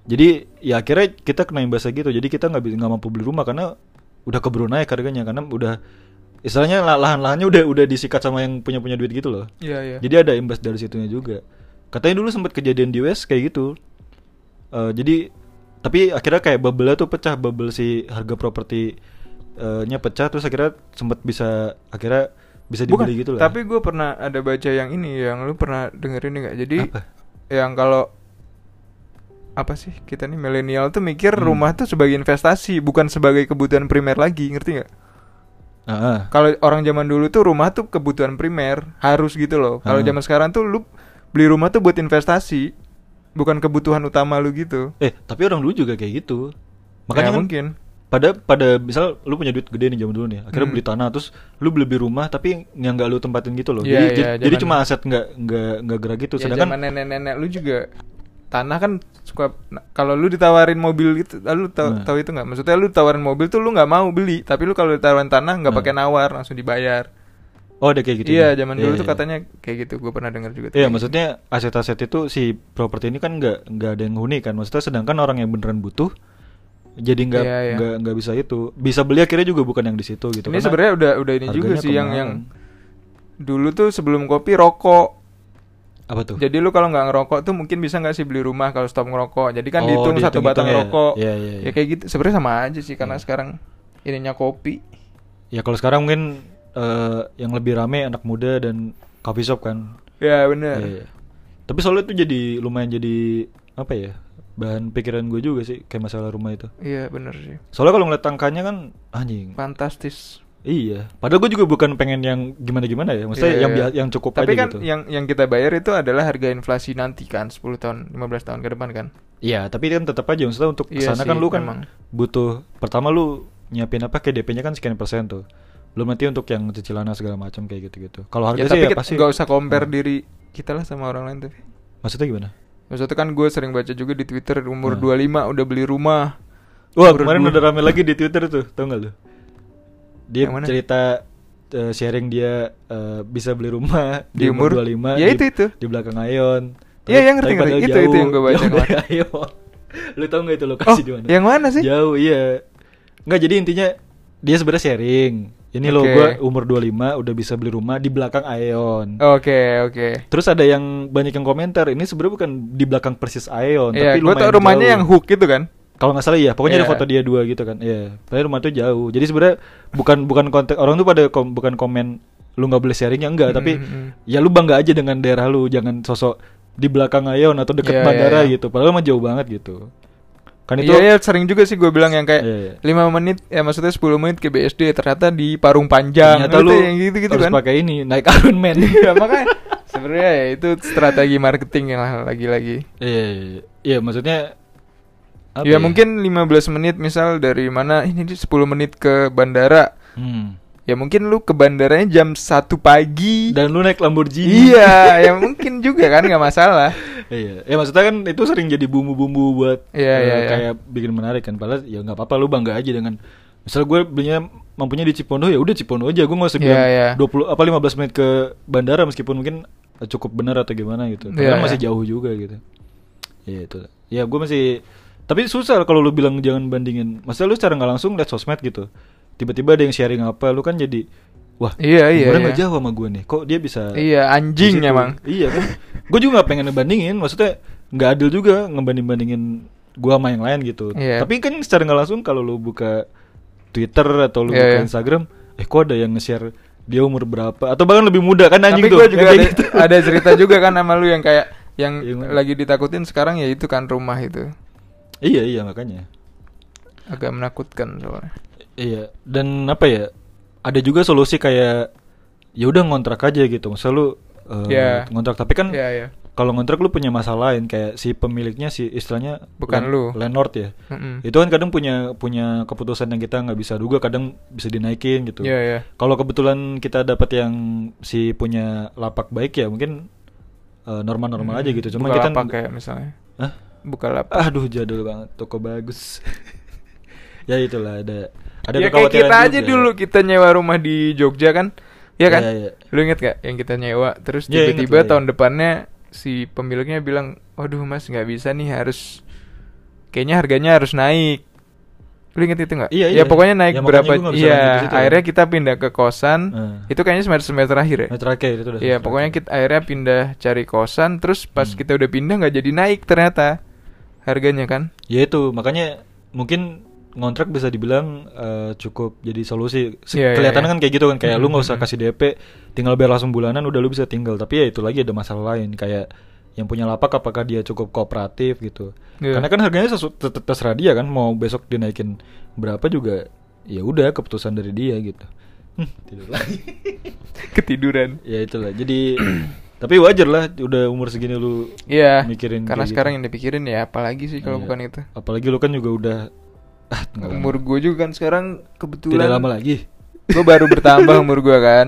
jadi ya akhirnya kita kena imbasnya gitu. Jadi kita nggak bisa nggak mampu beli rumah karena udah keburu naik harganya karena udah istilahnya lah- lahan-lahannya udah udah disikat sama yang punya punya duit gitu loh.
Iya, iya.
Jadi ada imbas dari situnya juga. Katanya dulu sempat kejadian di US kayak gitu. Eh, jadi tapi akhirnya kayak bubble tuh pecah bubble si harga properti eh, nya pecah terus akhirnya sempat bisa akhirnya bisa
Bukan,
dibeli gitu lah.
Tapi gue pernah ada baca yang ini yang lu pernah dengerin nggak? Jadi
Apa?
yang kalau apa sih kita nih milenial tuh mikir
Hmm.
rumah tuh sebagai investasi bukan sebagai kebutuhan primer lagi ngerti nggak?
Heeh.
Kalau orang zaman dulu tuh rumah tuh kebutuhan primer, harus gitu loh. Kalau
Ah.
zaman sekarang tuh lu beli rumah tuh buat investasi, bukan kebutuhan utama lu gitu.
Eh, tapi orang dulu juga kayak gitu. Makanya
Ya,
kan
mungkin.
pada pada misal lu punya duit gede nih zaman dulu nih, akhirnya
Hmm.
beli tanah terus lu beli beli rumah tapi yang nggak lu tempatin gitu loh.
Iya,
jadi
iya,
jadi- jadi
zaman-
cuma aset nggak nggak nggak gerak gitu.
Ya,
Sedangkan
zaman nenek-nenek lu juga tanah kan suka nah, kalau lu ditawarin mobil itu ah, lu tahu
Nah.
tahu itu nggak maksudnya lu tawarin mobil tuh lu nggak mau beli tapi lu kalau ditawarin tanah nggak
Nah.
pakai nawar langsung dibayar
oh ada kayak gitu.
iya
ya?
zaman dulu
Iya,
tuh
iya.
katanya kayak gitu gue pernah denger juga tuh
Iya,
kayak
maksudnya aset-aset itu si properti ini kan nggak nggak ada yang huni kan. Maksudnya sedangkan orang yang beneran butuh jadi nggak
Iya, iya.
nggak nggak bisa itu. Bisa beli akhirnya juga bukan yang di situ gitu. Karena
ini sebenarnya udah udah ini juga
harganya
sih yang
kemahalan.
yang dulu tuh sebelum kopi rokok
apa tuh?
jadi lu kalau nggak ngerokok tuh mungkin bisa nggak sih beli rumah kalau stop ngerokok jadi kan
Oh,
dihitung satu
dihitung-hitung
batang
ya.
rokok
Iya, iya, iya.
ya kayak gitu sebenarnya sama aja sih karena
Iya.
sekarang ininya kopi
Ya kalau sekarang mungkin eh, yang lebih rame anak muda dan coffee shop kan.
ya
Iya,
bener
iya. Tapi soalnya itu jadi lumayan jadi apa ya? Bahan pikiran gue juga sih kayak masalah rumah itu.
iya bener sih
Soalnya kalau ngeliat angkanya kan anjing.
fantastis
Iya. Padahal gue juga bukan pengen yang gimana-gimana ya. Maksudnya
Iya,
yang
iya.
bia- yang cukup
tapi
aja
kan
gitu.
yang yang kita bayar itu adalah harga inflasi nanti kan 10 tahun 15 tahun ke depan kan
Iya, tapi kan tetap aja maksudnya untuk
Iya
kesana
sih,
kan lu kan
memang.
butuh pertama lu nyiapin apa kayak DP-nya kan sekian persen tuh. Belum nanti untuk yang cicilannya segala macam kayak gitu-gitu. Kalau harga
ya
sih
tapi
ya
kita
pasti
nggak usah compare
Hmm.
diri kita lah sama orang lain tapi
Maksudnya gimana?
maksudnya kan gue sering baca juga di twitter umur
Hmm.
25 udah beli rumah
Wah
Umur
kemarin
dua-
udah rame lagi di Twitter tuh, tau gak lu? Dia
Yang mana?
cerita eh, sharing dia eh, bisa beli rumah
Di umur?
25
Ya,
di-
itu, itu.
Di belakang Ayon
Iya,
Tapi-
yang ngerti,
tapi padahal
ngerti. Itu, itu yang gua
jauh
baca
dari
kemarin.
Ayon Lu tau gak itu lokasi
Oh,
di mana?
yang mana sih?
Jauh, iya Enggak, jadi intinya Dia sebenarnya sharing Ini loh
Oke.
gue umur 25 udah bisa beli rumah di belakang Aeon
oke oke
Terus ada yang banyak yang komentar Ini sebenarnya bukan di belakang persis Aeon
Iya,
Oh, Tapi
gue
lumayan
tau rumahnya
jauh."
yang hook gitu kan
Kalau nggak salah ya, pokoknya ada
Iya.
foto dia dua gitu kan. Iya. Tapi rumah tuh jauh. Jadi sebenarnya bukan bukan konteks orang tuh pada kom- bukan komen lu nggak boleh sharingnya enggak, tapi
Mm, mm, mm.
ya lu bangga aja dengan daerah lu, jangan sosok di belakang Ayon atau deket
Iya, iya,
bandara
iya.
gitu. Padahal mah jauh banget gitu. Kan itu
Iya, iya, sering juga sih gue bilang yang
Iya, iya.
kayak lima 5 menit ya maksudnya 10 menit ke BSD ternyata di Parung Panjang
ternyata lu
Gitu, yang gitu gitu
harus
kan
pakai ini naik Iron Man.
Iya makanya sebenarnya ya itu strategi marketing yang lagi-lagi.
Iya, iya, iya. Iya, maksudnya apa
Ya, mungkin 15 menit misal dari mana ini dia 10 menit ke bandara.
Hmm.
Ya mungkin lu ke bandaranya jam 1 pagi.
Dan lu naik Lamborghini.
iya, ya mungkin juga kan nggak masalah.
Iya, ya maksudnya kan itu sering jadi bumbu-bumbu buat
Iya,
eh,
iya, iya.
kayak bikin menarik kan. Padahal ya nggak apa-apa lu bangga aja dengan misal gue belinya mampunya di Cipondo ya udah Cipondo aja gue nggak usah
Iya,
bilang
iya.
20 apa 15 menit ke bandara meskipun mungkin eh, cukup benar atau gimana gitu. Padahal
Iya,
masih
iya.
jauh juga gitu. Iya itu. Ya gue masih tapi susah kalau lu bilang jangan bandingin. Maksudnya lu secara nggak langsung lihat sosmed gitu. Tiba-tiba ada yang sharing apa lu kan jadi wah
Iya, iya,
umurnya
iya.
nggak jauh sama gue nih. Kok dia bisa
Iya,
Eh, di
anjing
situ.
emang.
Iya kan. gue juga nggak pengen ngebandingin, maksudnya nggak adil juga ngebanding-bandingin gua sama yang lain gitu.
Iya.
Tapi kan secara nggak langsung kalau lu buka Twitter atau lu
Iya,
buka
iya.
Instagram, eh kok ada yang nge-share dia umur berapa atau bahkan lebih muda kan anjing
Tapi
tuh.
gue
Yang
juga
kayak
ada,
gitu.
ada cerita juga kan sama lu yang kayak yang
Iya, bener.
lagi ditakutin sekarang ya itu kan rumah itu.
iya, iya makanya.
Agak menakutkan soalnya.
Iya, dan apa ya? Ada juga solusi kayak ya udah ngontrak aja gitu. Misal lu eh,
Iya.
ngontrak tapi kan
Iya, iya.
kalau ngontrak lu punya masalah lain kayak si pemiliknya si istilahnya land-
Bukan lu.
landlord ya.
Mm-mm.
Itu kan kadang punya punya keputusan yang kita nggak bisa duga, kadang bisa dinaikin gitu.
Iya, iya.
Kalau kebetulan kita dapat yang si punya lapak baik ya mungkin eh, normal-normal aja gitu. Cuma kita
Bukalapak Hmm. kayak misalnya.
Hah?
Bukalapak.
Aduh jadul banget, toko bagus. ya itulah ada ada
ya kayak kita
kekhawatiran
aja
juga.
dulu gitu kita nyewa rumah di Jogja kan Iya kan
Iya, iya.
lu inget gak yang kita nyewa terus
Iya, inget
tiba-tiba
lah, iya.
tahun depannya si pemiliknya bilang waduh mas nggak bisa nih harus kayaknya harganya harus naik lu inget itu nggak
Iya,
ya
iya.
pokoknya naik
Ya, makanya
berapa
gua nggak bisa lanjut di
iya
situ ya.
akhirnya kita pindah ke kosan
Eh.
itu kayaknya semester semester terakhir ya
Nah, terakhir itu udah
Iya
terakhir.
pokoknya kita akhirnya pindah cari kosan terus pas
Hmm.
kita udah pindah nggak jadi naik ternyata harganya kan
Ya itu, makanya mungkin ngontrak bisa dibilang eh, cukup jadi solusi. Se-
Iya, iya,
Kelihatannya
iya.
kan kayak gitu kan, kayak lu nggak usah
Mhm.
kasih DP, tinggal bayar langsung bulanan udah lu bisa tinggal. Tapi ya itu lagi ada masalah lain kayak yang punya lapak apakah dia cukup kooperatif gitu.
Iya.
Karena kan harganya sesu- tet- tet- terserah dia kan mau besok dinaikin berapa juga ya udah keputusan dari dia gitu. Hmm, tidur lagi.
Ketiduran.
ya itulah. Jadi tapi wajar lah udah umur segini lu
Iya.
Mikirin
Karena
kayak
sekarang
gitu.
yang dipikirin ya apalagi sih kalau
Iya.
bukan itu.
Apalagi lu kan juga udah ah, nggak lama.
Umur gue juga kan sekarang kebetulan.
tidak lama lagi.
Gue baru bertambah umur gue kan.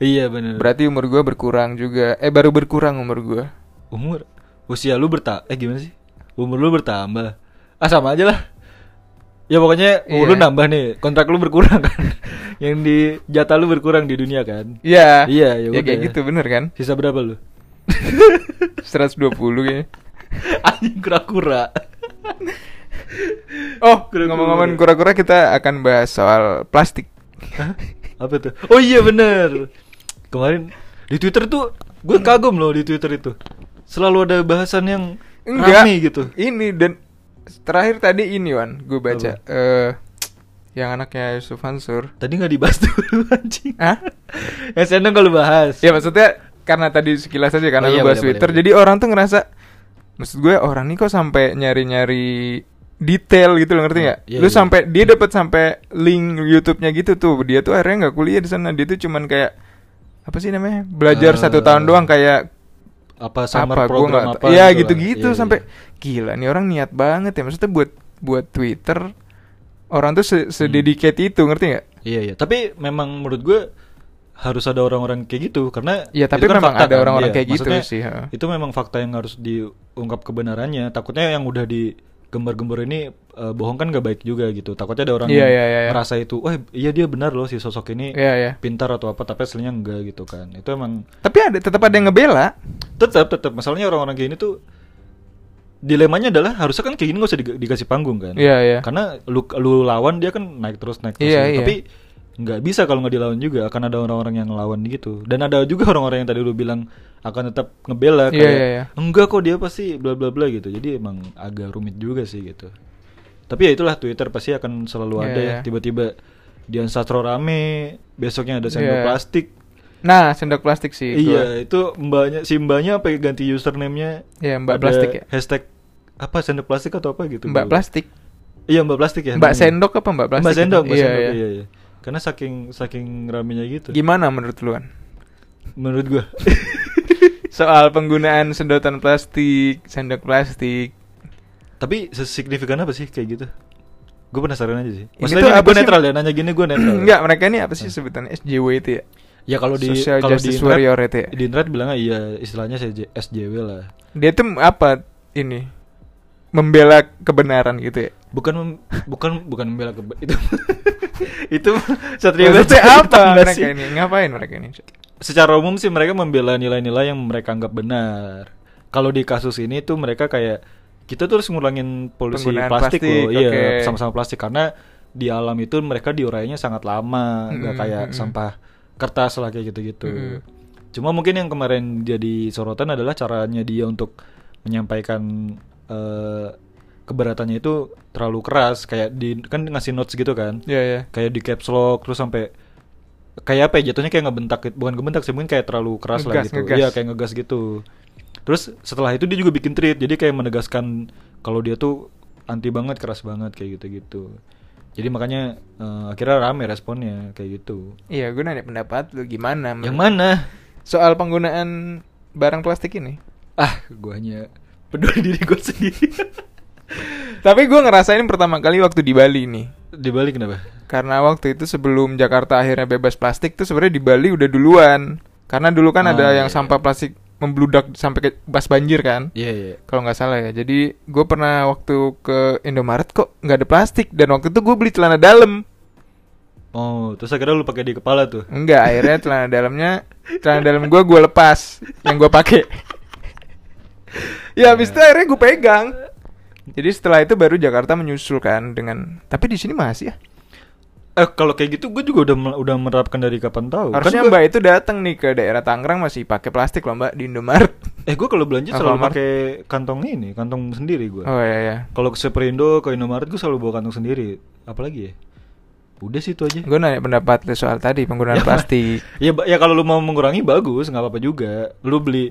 Iya bener
Berarti umur gue berkurang juga. Eh baru berkurang umur gue.
umur usia lu bertambah eh gimana sih? Umur lu bertambah. Ah sama aja lah. Ya pokoknya umur
Iya.
lu nambah nih, kontrak lu berkurang kan. Yang di jatah lu berkurang di dunia kan.
Iya.
Iya, ya
ya,
udah.
kayak gitu bener kan?
Sisa berapa lu?
120 kayaknya.
Anjing kura-kura.
Oh,
Kura-kura.
ngomong-ngomong kura-kura kita akan bahas soal plastik.
Hah? Apa tuh? Oh iya bener Kemarin di Twitter tuh gue kagum loh di Twitter itu. Selalu ada bahasan yang
Enggak.
rame gitu.
Ini dan terakhir tadi ini Wan, gue baca
Apa?
eh yang anaknya Yusuf Mansur.
Tadi nggak dibahas dulu anjing.
Hah?
Ya seneng kalau bahas.
Ya maksudnya karena tadi sekilas aja karena
Oh, iya,
lu bahas
boleh,
Twitter.
boleh,
jadi orang tuh ngerasa maksud gue orang nih kok sampai nyari-nyari detail gitu lo ngerti nggak?
Iya,
lu
iya.
sampai dia dapat sampai link YouTube-nya gitu tuh. Dia tuh akhirnya nggak kuliah di sana. Dia tuh cuman kayak apa sih namanya? Belajar
Eh,
satu tahun doang kayak
Apa summer
apa gue
program
nggak
apa?
tahu. ya
lah.
gitu-gitu
Iya, iya.
sampai gila nih orang niat banget ya maksudnya buat buat Twitter orang tuh se
Hmm.
sededicate itu ngerti nggak?
Iya iya. Tapi memang menurut gue harus ada orang-orang kayak gitu karena
Iya, tapi
itu
memang
fakta
ada orang-orang
Iya,
kayak gitu
maksudnya
sih, heeh.
itu memang fakta yang harus diungkap kebenarannya takutnya yang udah digembar-gembar ini eh, bohong kan gak baik juga gitu takutnya ada orang
Iya,
yang
iya, iya, iya.
merasa itu wah iya dia benar loh si sosok ini
Iya ya.
pintar atau apa tapi aslinya enggak gitu kan itu emang
Tapi ada tetap ada yang ngebela.
tetap tetap masalahnya orang-orang kayak ini tuh dilemanya adalah harusnya kan kayak gini gak usah diga- dikasih panggung kan
Iya, iya.
karena lu lu lawan dia kan naik terus naik terus
Iya,
gitu.
iya.
tapi nggak bisa kalau nggak dilawan juga akan ada orang-orang yang ngelawan gitu dan ada juga orang-orang yang tadi lu bilang akan tetap ngebela kayak
Iya, iya, iya.
enggak kok dia pasti bla bla bla gitu jadi emang agak rumit juga sih gitu tapi ya itulah Twitter pasti akan selalu
Iya,
ada ya
iya.
tiba-tiba Dian Sastro rame besoknya ada sendok
Iya.
plastik
Nah, sendok plastik sih.
Iya,
gua.
itu mbaknya si mbaknya apa ya, ganti username-nya?
Iya, Mbak
Ada
Plastik ya?
Hashtag apa sendok plastik atau apa gitu? gua
Mbak
lupa.
plastik.
Iya, Mbak Plastik ya.
Mbak
namanya.
sendok apa Mbak plastik?
Mbak Sendok, Mbak
iya,
Sendok.
iya.
Iya, iya. Karena saking saking ramenya gitu.
Gimana menurut lu kan?
Menurut gua.
Soal penggunaan sedotan plastik, sendok plastik.
Tapi sesignifikan apa sih kayak gitu? Gue penasaran aja sih.
Ini
Maksudnya
tuh
ini,
apa
gue
sih?
netral ya, Hmm. nanya gini gue netral.
Enggak, mereka ini apa sih sebutannya SJW itu ya?
Ya kalau di
Social
kalau di
Justice
internet,
Warrior itu ya?
di internet bilangnya iya istilahnya SJ SJW lah.
Dia tuh apa ini? Membela kebenaran gitu ya.
Bukan mem- bukan bukan membela ke itu itu satria
Maksudnya
Baja
apa
hitam nggak
mereka
sih?
ini? Ngapain mereka ini?
secara umum sih mereka membela nilai-nilai yang mereka anggap benar. Kalau di kasus ini tuh mereka kayak kita tuh harus ngurangin polusi
Penggunaan
plastik,
plastik,
loh, iya
oke.
sama-sama plastik karena di alam itu mereka diurainya sangat lama, nggak
Mm-mm,
kayak
mm-mm.
sampah kertas lah kayak gitu-gitu.
Mm-mm.
Cuma mungkin yang kemarin jadi sorotan adalah caranya dia untuk menyampaikan eh, keberatannya itu terlalu keras, kayak di kan ngasih notes gitu kan
Iya, iya.
kayak di caps lock terus sampai kayak apa ya jatuhnya kayak ngebentak gitu. bukan ngebentak sih mungkin kayak terlalu keras lah
Ngegas,
gitu
ngegas.
iya kayak ngegas gitu terus setelah itu dia juga bikin tweet jadi kayak menegaskan kalau dia tuh anti banget keras banget kayak gitu gitu jadi makanya eh, akhirnya rame responnya kayak gitu
Iya, gue nanya pendapat lu gimana?
yang
menurut-
mana
Soal penggunaan barang plastik ini.
ah gua hanya peduli diri gua sendiri
Tapi gue ngerasain pertama kali waktu di Bali nih.
di Bali kenapa
Karena waktu itu sebelum Jakarta akhirnya bebas plastik tuh sebenarnya di Bali udah duluan. Karena dulu kan
Ah,
ada yang
iya.
sampah plastik membludak sampai ke bas banjir kan.
iya iya
Kalau nggak salah ya. Jadi gue pernah waktu ke Indomaret kok nggak ada plastik dan waktu itu gue beli celana dalam.
oh terus akhirnya lu pakai di kepala tuh
Enggak, akhirnya celana dalamnya celana dalam gue gue lepas yang gue pakai. ya habis itu akhirnya gue pegang. Jadi setelah itu baru Jakarta menyusul kan dengan tapi di sini masih ya.
eh kalau kayak gitu gue juga udah mel- udah menerapkan dari kapan tahu Kan
Harusnya
gua-
Mbak itu datang nih ke daerah Tangerang masih pakai plastik loh Mbak di Indomaret.
Eh gue kalau belanja
Apa,
selalu
Mar?
pakai kantong ini, kantong sendiri gue.
Oh iya ya.
Kalau ke Superindo, ke Indomaret gue selalu bawa kantong sendiri. Apalagi ya? Udah sih itu aja.
Gue nanya pendapat lu soal tadi penggunaan
Ya,
plastik.
ya ba- ya kalau lu mau mengurangi bagus, nggak apa-apa juga. Lu beli
Lu.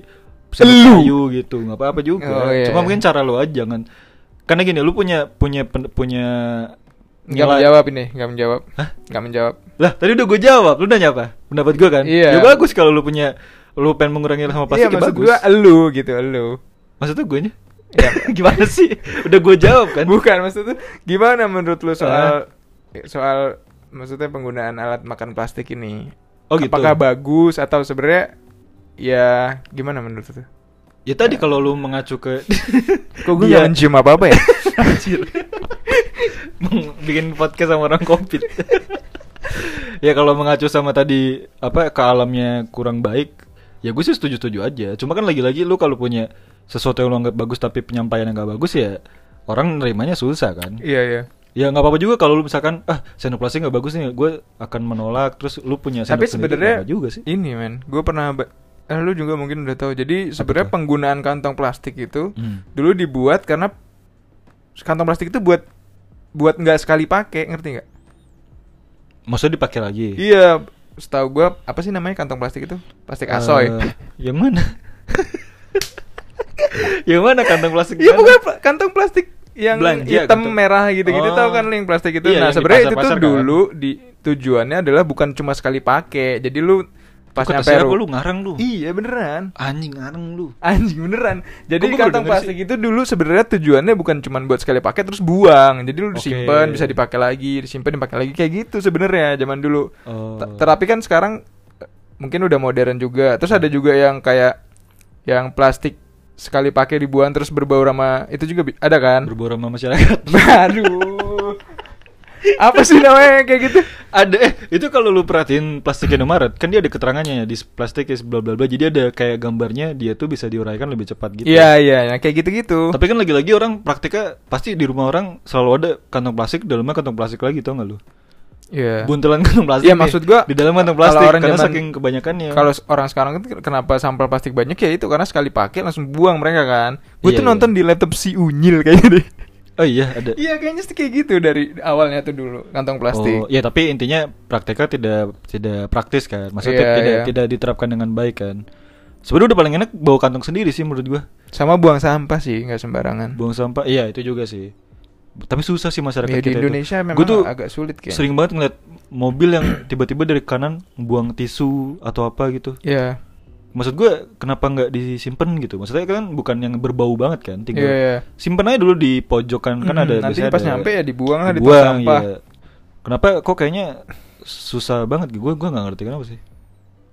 sendok kayu gitu, nggak apa-apa juga.
Oh, iya,
Cuma
iya.
mungkin cara lu aja jangan. Karena gini, lu punya punya pen- punya
Nggak
nilai-
menjawab ini, nggak menjawab.
Hah?
Nggak menjawab.
Lah, tadi udah gue jawab. Lu nanya apa? Pendapat gue kan? Ya
Iya.
bagus kalau lu punya lu pengen mengurangi sama plastik ya
iya, maksud
bagus.
gua elu gitu, elu.
Maksudnya gue nya?
Iya.
Gimana sih? Udah gue jawab kan?
Bukan maksud tuh gimana menurut lu soal soal maksudnya penggunaan alat makan plastik ini?
Oh, gitu.
Apakah bagus atau sebenarnya ya gimana menurut lu?
Ya tadi kalau lu mengacu ke
Kok gue
Dia-
nggak mencium apa-apa ya?
Anjir. Meng- Bikin podcast sama orang kompit. ya kalau mengacu sama tadi apa ke alamnya kurang baik, ya gue sih setuju-setuju aja. Cuma kan lagi-lagi lu kalau punya sesuatu yang lu anggap bagus tapi penyampaiannya nggak bagus ya orang nerimanya susah kan.
Iya, iya.
Ya nggak apa-apa juga kalau lu misalkan ah sendok plastik nggak bagus nih, gue akan menolak. Terus lu punya
Tapi
sendok sendiri, nggak
sebenarnya
apa juga sih.
Ini men, gue pernah ba- eh, lu juga mungkin udah tahu. Jadi
Apa
sebenarnya
tuh?
penggunaan kantong plastik itu
Hmm.
dulu dibuat karena kantong plastik itu buat buat nggak sekali pakai, ngerti nggak?
Maksudnya dipakai lagi.
Iya, setahu gue apa sih namanya kantong plastik itu? Plastik asoy.
Eh, yang mana? yang mana kantong plastik?
Iya
mana?
bukan pla- kantong plastik yang
Belanja,
hitam
kantong-
merah gitu-gitu
Oh.
tau kan lu yang plastik itu.
Iya,
nah
yang di
sebenarnya itu tuh
pasar-pasar kan.
dulu di tujuannya adalah bukan cuma sekali pakai. Jadi lu pas
Kok
nyampe
terserah
ru-
gua, lu ngarang lu.
Iya beneran.
Anjing ngarang lu.
Anjing beneran. Jadi
Kok gua baru
kantong
denger
plastik itu dulu sebenarnya tujuannya bukan cuma buat sekali pakai terus buang. Jadi lu
Oke.
disimpan bisa dipakai lagi, disimpan dipakai lagi kayak gitu sebenarnya zaman dulu.
Oh.
T- Terapi kan sekarang eh, mungkin udah modern juga. Terus ada juga yang kayak yang plastik sekali pakai dibuang terus berbau sama itu juga bi- ada kan?
Berboro sama masyarakat.
Aduh. Apa sih namanya kayak gitu?
ada eh itu kalau lu perhatiin plastik Indomaret kan dia ada keterangannya ya di plastik is bla bla bla. Jadi ada kayak gambarnya dia tuh bisa diuraikan lebih cepat gitu.
Iya, iya, nah, kayak gitu-gitu.
Tapi kan lagi-lagi orang praktiknya pasti di rumah orang selalu ada kantong plastik, dalamnya kantong plastik lagi tau gak lu?
Iya.
Buntelan kantong plastik.
Iya,
nih.
maksud gua,
di dalam kantong
kalau
plastik
orang
karena
zaman-
saking kebanyakannya.
Kalau s- orang sekarang kan kenapa sampel plastik banyak ya itu karena sekali pakai langsung buang mereka kan. Gue
Iya,
tuh
iya.
nonton di laptop si Unyil kayaknya deh.
Oh iya ada.
Iya kayaknya sih kayak gitu dari awalnya tuh dulu kantong
Oh,
plastik.
ya tapi intinya prakteknya tidak tidak praktis kan. Maksudnya
Iya,
tidak
iya.
tidak diterapkan dengan baik kan. Sebenarnya udah paling enak bawa kantong sendiri sih menurut gua.
Sama buang sampah sih nggak sembarangan.
Buang sampah, iya itu juga sih. Tapi susah sih masyarakat
Ya, di
kita itu.
Indonesia memang
Gua tuh
agak sulit kayaknya.
Sering banget ngeliat mobil yang tiba-tiba dari kanan buang tisu atau apa gitu.
Iya.
Maksud gua kenapa nggak disimpan gitu? Maksudnya kan bukan yang berbau banget kan, tinggal
Iya, iya.
simpan aja dulu di pojokan kan
Mm,
ada
nanti
biasanya
pas
ada-
nyampe ya dibuang lah di tong
Dibuang,
sampah.
iya. Kenapa kok kayaknya susah banget gue gue nggak ngerti kenapa sih.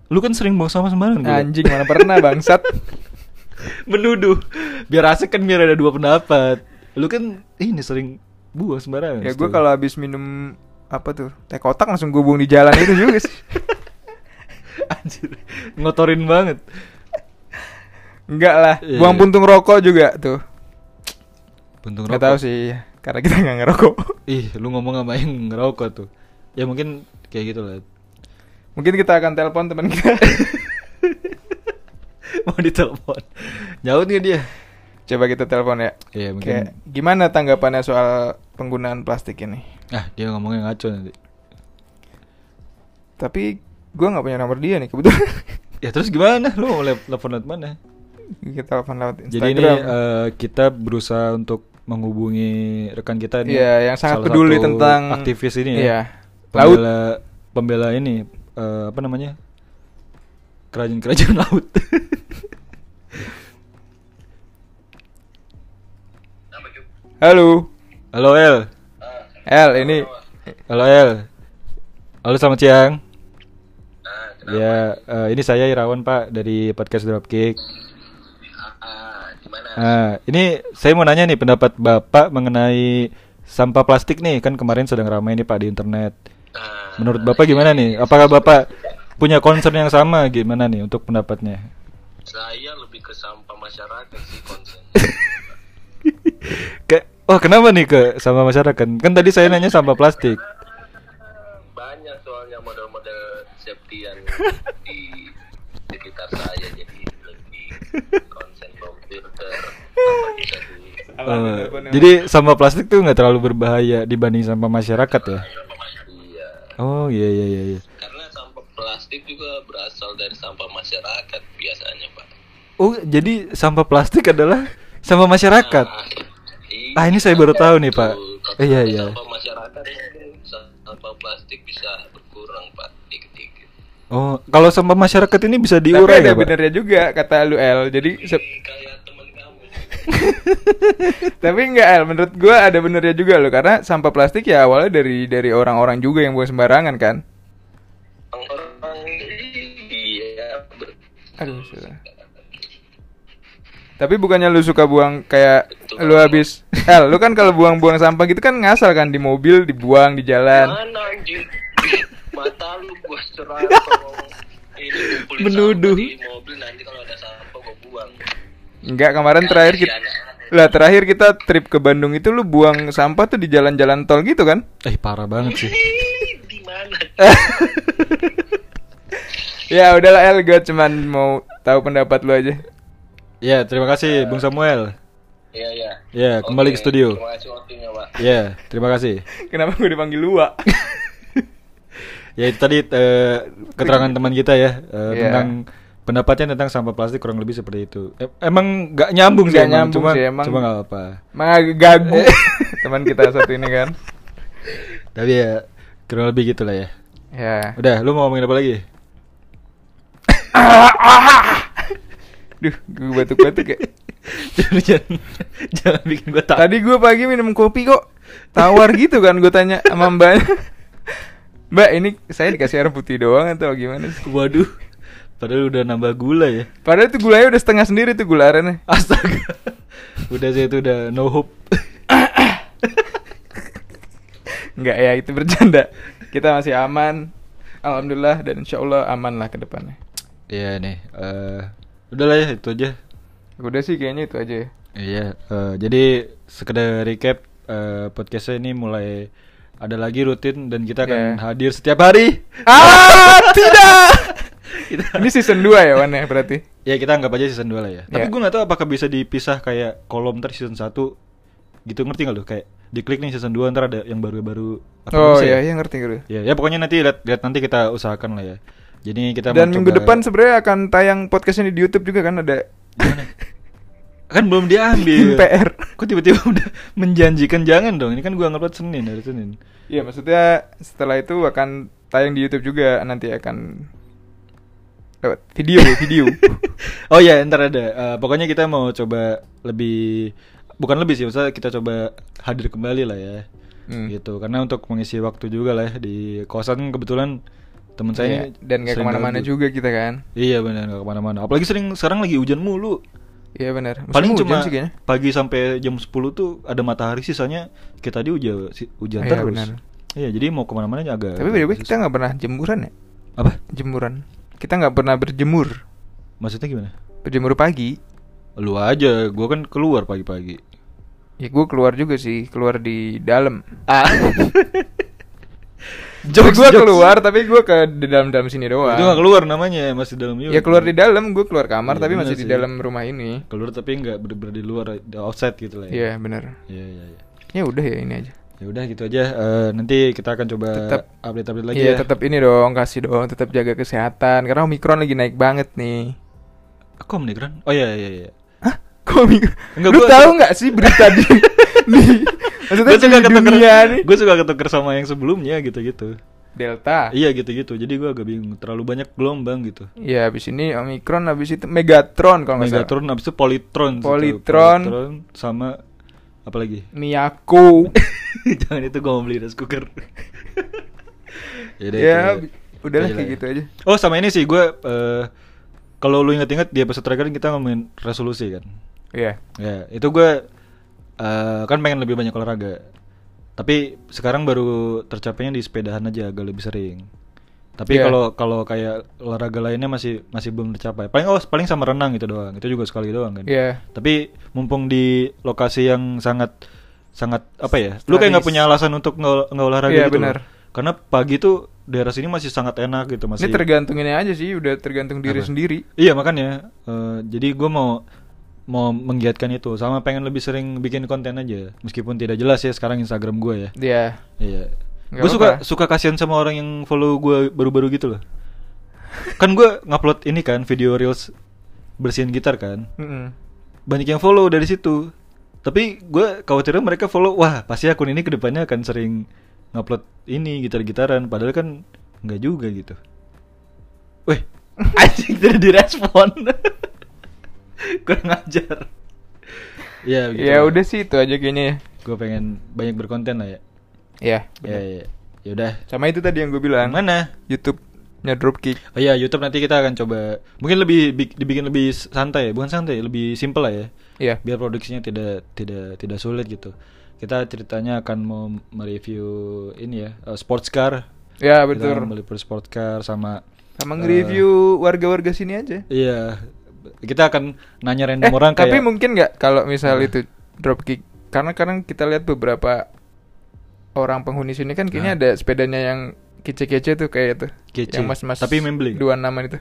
Lu kan sering buang sampah sembarangan gua.
Anjing mana pernah bangsat.
Menuduh. Biar asik kan biar ada dua pendapat. Lu kan ini sering buang sembarangan.
ya gue
Stu.
kalau habis minum apa tuh teh kotak langsung gue buang di jalan itu juga sih.
anjir ngotorin banget.
Enggak lah.
Iya,
Buang
iya.
puntung rokok juga tuh.
Puntung
Nggak tahu sih karena kita nggak ngerokok.
Ih, lu ngomong sama yang ngerokok tuh. Ya mungkin kayak gitu lah.
Mungkin kita akan telepon teman kita.
Mau ditelepon. Nyaut gak dia?
Coba kita telepon ya.
Iya, mungkin.
Kayak gimana tanggapannya soal penggunaan plastik ini?
Ah, dia ngomongnya ngaco nanti.
Tapi gue nggak punya nomor dia nih kebetulan.
Ya terus gimana? Lu mau lep- telepon lewat mana?
kita telepon lewat
Jadi
Instagram.
ini eh, kita berusaha untuk menghubungi rekan kita nih.
Iya, yang sangat
salah
peduli
satu
tentang
aktivis ini ya.
Iya. Laut.
Pembela pembela ini eh, apa namanya? Kerajaan-kerajaan laut.
Halo.
Halo El.
El ini
Halo El. Halo selamat siang. ya, eh, ini saya Irawan Pak dari podcast Dropkick.
Ah, gimana?
Nah, ini saya mau nanya nih pendapat Bapak mengenai sampah plastik nih kan kemarin sedang ramai nih Pak di internet.
Ah, iya.
Menurut Bapak gimana nih? Apakah Bapak punya concern yang sama gimana nih untuk pendapatnya?
saya lebih ke sampah masyarakat sih konsen.
Ke Wah, kenapa nih ke sama masyarakat? Kan tadi saya nanya sampah plastik.
Banyak soalnya model-model safety yang di sekitar saya jadi lebih konsen bau filter. apa bisa di
Eh, jadi sampah plastik tuh nggak terlalu berbahaya dibanding sampah masyarakat ya?
Iya,
Oh, iya iya iya iya.
karena sampah plastik juga berasal dari sampah masyarakat biasanya pak.
Oh, jadi sampah plastik adalah sampah masyarakat.
Ah,
Ah, ini saya baru tahu nih, Pak.
betul.
Iya, iya.
Sampah masyarakat politik bisa berkurang pak dikit-dikit
Oh, kalau sampah masyarakat ini bisa
Tapi
diurai
ada
nggak, ya, Pak?
benernya juga kata lu El. Jadi se-
Ini kayak teman kamu
tapi enggak El, menurut gua ada benernya juga loh karena sampah plastik ya awalnya dari dari orang-orang juga yang buang sembarangan kan.
orang-orang iya ber-
Aduh, sudah. Tapi bukannya lu suka buang kayak lu habis El, lu kan kalau buang-buang sampah gitu kan ngasal kan di mobil, dibuang di jalan.
mana anjing mata lu gua serang kalau ngomong. ini ngumpulin
Menuduh.
sampah di mobil nanti kalau ada sampah gua buang
Enggak, kemarin terakhir kita lah terakhir kita trip ke Bandung itu lu buang sampah tuh di jalan-jalan tol gitu kan?
Eh, parah banget sih.
Ih, di mana
Eh.
Ya udahlah El, gua cuman mau tahu pendapat lu aja.
Ya, terima kasih Bung Samuel.
ya ya
Ya, kembali
Oke,
ke studio.
terima kasih waktunya pak
Ya, terima kasih.
Kenapa gue dipanggil Lua?
Ya itu tadi eh, keterangan teman kita ya eh,
Iya.
tentang pendapatnya tentang sampah plastik kurang lebih seperti itu. Em- emang nggak nyambung sih,
Nggak
emang.
nyambung
cuma,
sih, emang.
cuma nggak apa.
Mah agak gagu teman kita satu ini kan.
Tapi ya kurang lebih gitulah ya.
Ya.
Udah, lu mau ngomongin apa lagi?
Duh, gue batuk-batuk ya.
jangan, jangan, jangan bikin gue takut.
Tadi gue pagi minum kopi kok tawar gitu kan gue tanya sama mbaknya. Mbak, ini saya dikasih air putih doang atau gimana sih?
Waduh, padahal udah nambah gula ya.
Padahal itu gulanya udah setengah sendiri tuh gula arennya.
Astaga. udah sih itu udah no hope.
Enggak ya, itu bercanda. Kita masih aman. Alhamdulillah dan insya Allah aman lah ke depannya.
Iya nih. eh udahlah ya itu aja.
Udah sih kayaknya itu aja ya.
Iya, eh, jadi sekedar recap eh, podcastnya ini mulai ada lagi rutin dan kita akan
Iya.
hadir setiap hari.
Ah, tidak!
Kita-
Ini season 2 ya, Wan ya berarti?
Ya kita anggap aja season 2 lah ya. Tapi
Iya.
gue nggak tahu apakah bisa dipisah kayak kolom ntar season 1 gitu ngerti nggak lu? Kayak diklik nih season 2 ntar ada yang baru-baru. apa
Oh
bisa
iya,
ya?
iya ngerti ngerti.
Ya, ya pokoknya nanti lihat lihat nanti kita usahakan lah ya. Jadi kita mau
Dan minggu
coba-
depan sebenarnya akan tayang podcast ini di YouTube juga kan ada
Gimana? kan belum diambil.
PR.
Kok tiba-tiba udah menjanjikan jangan dong. Ini kan gua ngupload Senin hari Senin.
Iya, maksudnya setelah itu akan tayang di YouTube juga nanti akan lewat video, video.
oh ya ntar ada Eh, pokoknya kita mau coba lebih bukan lebih sih maksudnya kita coba hadir kembali lah ya
Hmm.
gitu karena untuk mengisi waktu juga lah ya, di kosan kebetulan teman saya
Iya, dan
nggak
gak kemana-mana juga kita kan.
iya benar nggak kemana-mana apalagi sering sekarang lagi hujan mulu
Iya benar. Musim
paling
hujan
cuma
sih kayaknya.
pagi sampai jam 10 tuh ada matahari sisanya kita di hujan si- hujan
Iya,
terus
benar.
iya jadi mau kemana-mana agak
Tapi by the way kita nggak pernah jemuran ya?
apa
Jemuran. Kita nggak pernah berjemur.
maksudnya gimana
Berjemur pagi.
lu aja gua kan keluar pagi-pagi
Ya gue keluar juga sih, keluar di dalam.
Ah.
Tapi gue keluar, tapi gue ke di dalam-dalam sini doang.
Itu nggak keluar namanya, masih dalam unit.
Ya keluar di dalam, gue keluar kamar,
Iya,
tapi
benar
masih di
sih.
dalam rumah ini.
Keluar tapi nggak bener-bener di luar, di outside gitu lah ya.
Iya benar.
Iya, iya, iya.
Ya udah ya ini aja.
Ya udah gitu aja. Eh, nanti kita akan coba
Tetap-
update-update lagi
Iya,
ya.
tetap ini dong, kasih dong, tetap jaga kesehatan karena Omikron lagi naik banget nih.
Aku menigran. Oh iya iya iya.
Hah? Kok Omikron?
Enggak,
Lu
gua-
tahu nggak sih berita di, di maksudnya
Gue suka
di
ketuker,
dunia nih?
gue suka ketuker sama yang sebelumnya gitu-gitu.
Delta.
Iya gitu-gitu. Jadi gue agak bingung. Terlalu banyak gelombang gitu.
Iya, habis ini Omikron, habis itu Megatron kalau nggak salah.
Megatron, abis itu Politron. setahu.
Politron.
Politron sama apa lagi?
Miyako.
Jangan itu gue mau beli rice cooker. Yaudah, itu
ya,
aja.
udahlah
Itu
kayak gitu aja.
Oh sama ini sih gue eh, kalau lu inget-inget di episode terakhir kan kita ngomongin resolusi kan.
Iya.
Ya itu gue eh, kan pengen lebih banyak olahraga. Tapi sekarang baru tercapainya di sepedahan aja agak lebih sering. Tapi
Iya.
kalau kalau kayak olahraga lainnya masih masih belum tercapai. Paling oh paling sama renang gitu doang. Itu juga sekali doang kan.
Iya.
Tapi mumpung di lokasi yang sangat sangat apa ya? Lu kayak nggak
Strategis.
punya alasan untuk nggak nggak olahraga
Iya,
gitu. loh.
benar.
Karena pagi tuh daerah sini masih sangat enak gitu masih.
Ini tergantung ini aja sih, udah tergantung diri
Apa?
sendiri.
Iya makanya. eh, jadi gue mau mau menggiatkan itu sama pengen lebih sering bikin konten aja meskipun tidak jelas ya sekarang Instagram gue ya.
Iya.
Iya.
Nggak
Gue suka
apa-apa.
suka kasihan sama orang yang follow gue baru-baru gitu loh. Kan gue ngupload ini kan video reels bersihin gitar kan
Mm-mm.
banyak yang follow dari situ tapi gue khawatirnya mereka follow wah pasti akun ini kedepannya akan sering ngupload ini gitar-gitaran padahal kan nggak juga gitu weh anjing tidak direspon kurang ajar ya begitu
ya udah sih itu aja kayaknya ya
gue pengen banyak berkonten lah ya
ya
ya
bener.
ya ya udah
sama itu tadi yang gue bilang
mana
YouTube-nya Dropkick
Oh iya, YouTube nanti kita akan coba mungkin lebih bi- dibikin lebih santai, ya. bukan santai, lebih simple lah ya.
Iya.
Biar produksinya tidak tidak tidak sulit gitu. Kita ceritanya akan mau mereview ini ya, eh, sports car.
Ya
Kita
betul.
akan meliput sports car sama
Sama
eh,
nge-review warga-warga sini aja.
iya. Kita akan nanya random
Eh,
orang kayak
tapi mungkin nggak kalau misal itu dropkick karena kadang kita lihat beberapa orang penghuni sini kan kayaknya
Hah?
ada sepedanya yang kece-kece tuh kayak itu.
Nah. Kece.
Yang mas-mas.
Tapi membeli.
Dua nama itu.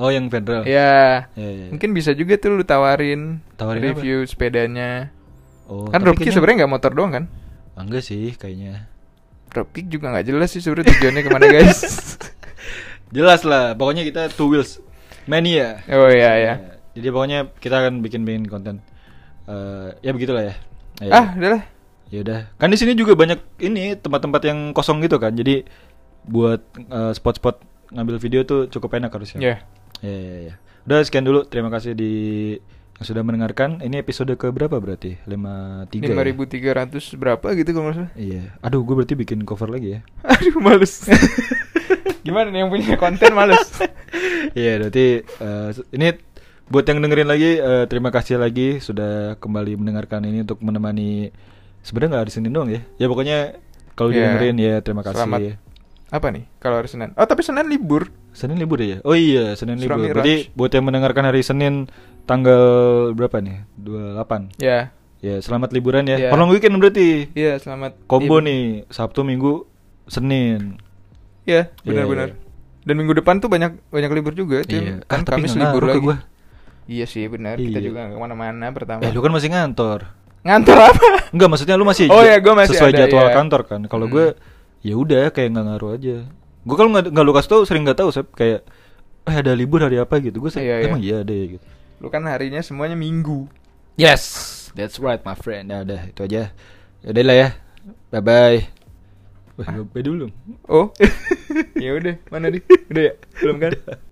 Oh, yang federal.
Ya.
Iya, iya.
Mungkin bisa juga tuh lu tawarin,
Tawarin
review sepedanya.
Oh,
kan
tapi kayaknya-
dropkick sebenarnya nggak motor doang kan?
Ah, Enggak sih kayaknya.
Dropkick juga nggak jelas sih sebenarnya tujuannya kemana guys.
Jelas lah, pokoknya kita two wheels mania.
oh iya ya.
Jadi pokoknya kita akan bikin-bikin konten. Eh, ya begitulah ya. Ya.
Ah, udah lah.
Ya udah. Kan di sini juga banyak ini tempat-tempat yang kosong gitu kan. Jadi buat eh, spot-spot ngambil video tuh cukup enak harusnya.
Iya.
Ya, ya, ya. Udah sekian dulu. Terima kasih di yang sudah mendengarkan. Ini episode ke berapa berarti? 53. ya?
5300 berapa gitu kalau nggak salah.
Iya. Aduh, gue berarti bikin cover lagi ya.
Aduh males Gimana nih yang punya konten males
Iya, berarti eh, ini buat yang dengerin lagi eh, terima kasih lagi sudah kembali mendengarkan ini untuk menemani sebenarnya nggak di sini doang ya. Ya pokoknya kalau
Iya.
didengerin ya terima kasih.
Selamat. Apa nih kalau hari Senin Oh tapi Senin libur
Senin libur ya? Oh iya, Senin libur.
Surah Miraj.
Jadi buat yang mendengarkan hari Senin tanggal berapa nih? 28.
Ya
Ya, selamat liburan ya.
Iya.
Prolong weekend berarti.
Iya selamat
Kombo
lib-
nih, Sabtu, Minggu, Senin.
Iya benar-benar
Iya,
Dan minggu depan tuh banyak banyak libur juga Tim.
Iya.
Kan
Ah, tapi
Kamis
nggak
libur
ngaruh ke
lagi
gua.
Iya sih benar Kita
Iya.
juga nggak kemana-mana pertama
Eh, lu kan masih ngantor.
Ngantor apa?
Enggak, maksudnya lu masih
Oh iya, gua masih
sesuai
ada,
jadwal
iya.
kantor kan. Kalau
Hmm.
gue ya udah kayak nggak ngaruh aja. Gue kalau nggak nggak lu kasih tahu sering nggak tahu Sep. kayak eh ada libur hari apa gitu. Gue
Iya,
emang iya ada ya gitu.
Lu kan harinya semuanya minggu
Yes, that's right my friend. Ya udah itu aja. Ya udah lah ya. Bye bye. Wah, bye dulu.
Oh ya udah mana nih Udah ya belum kan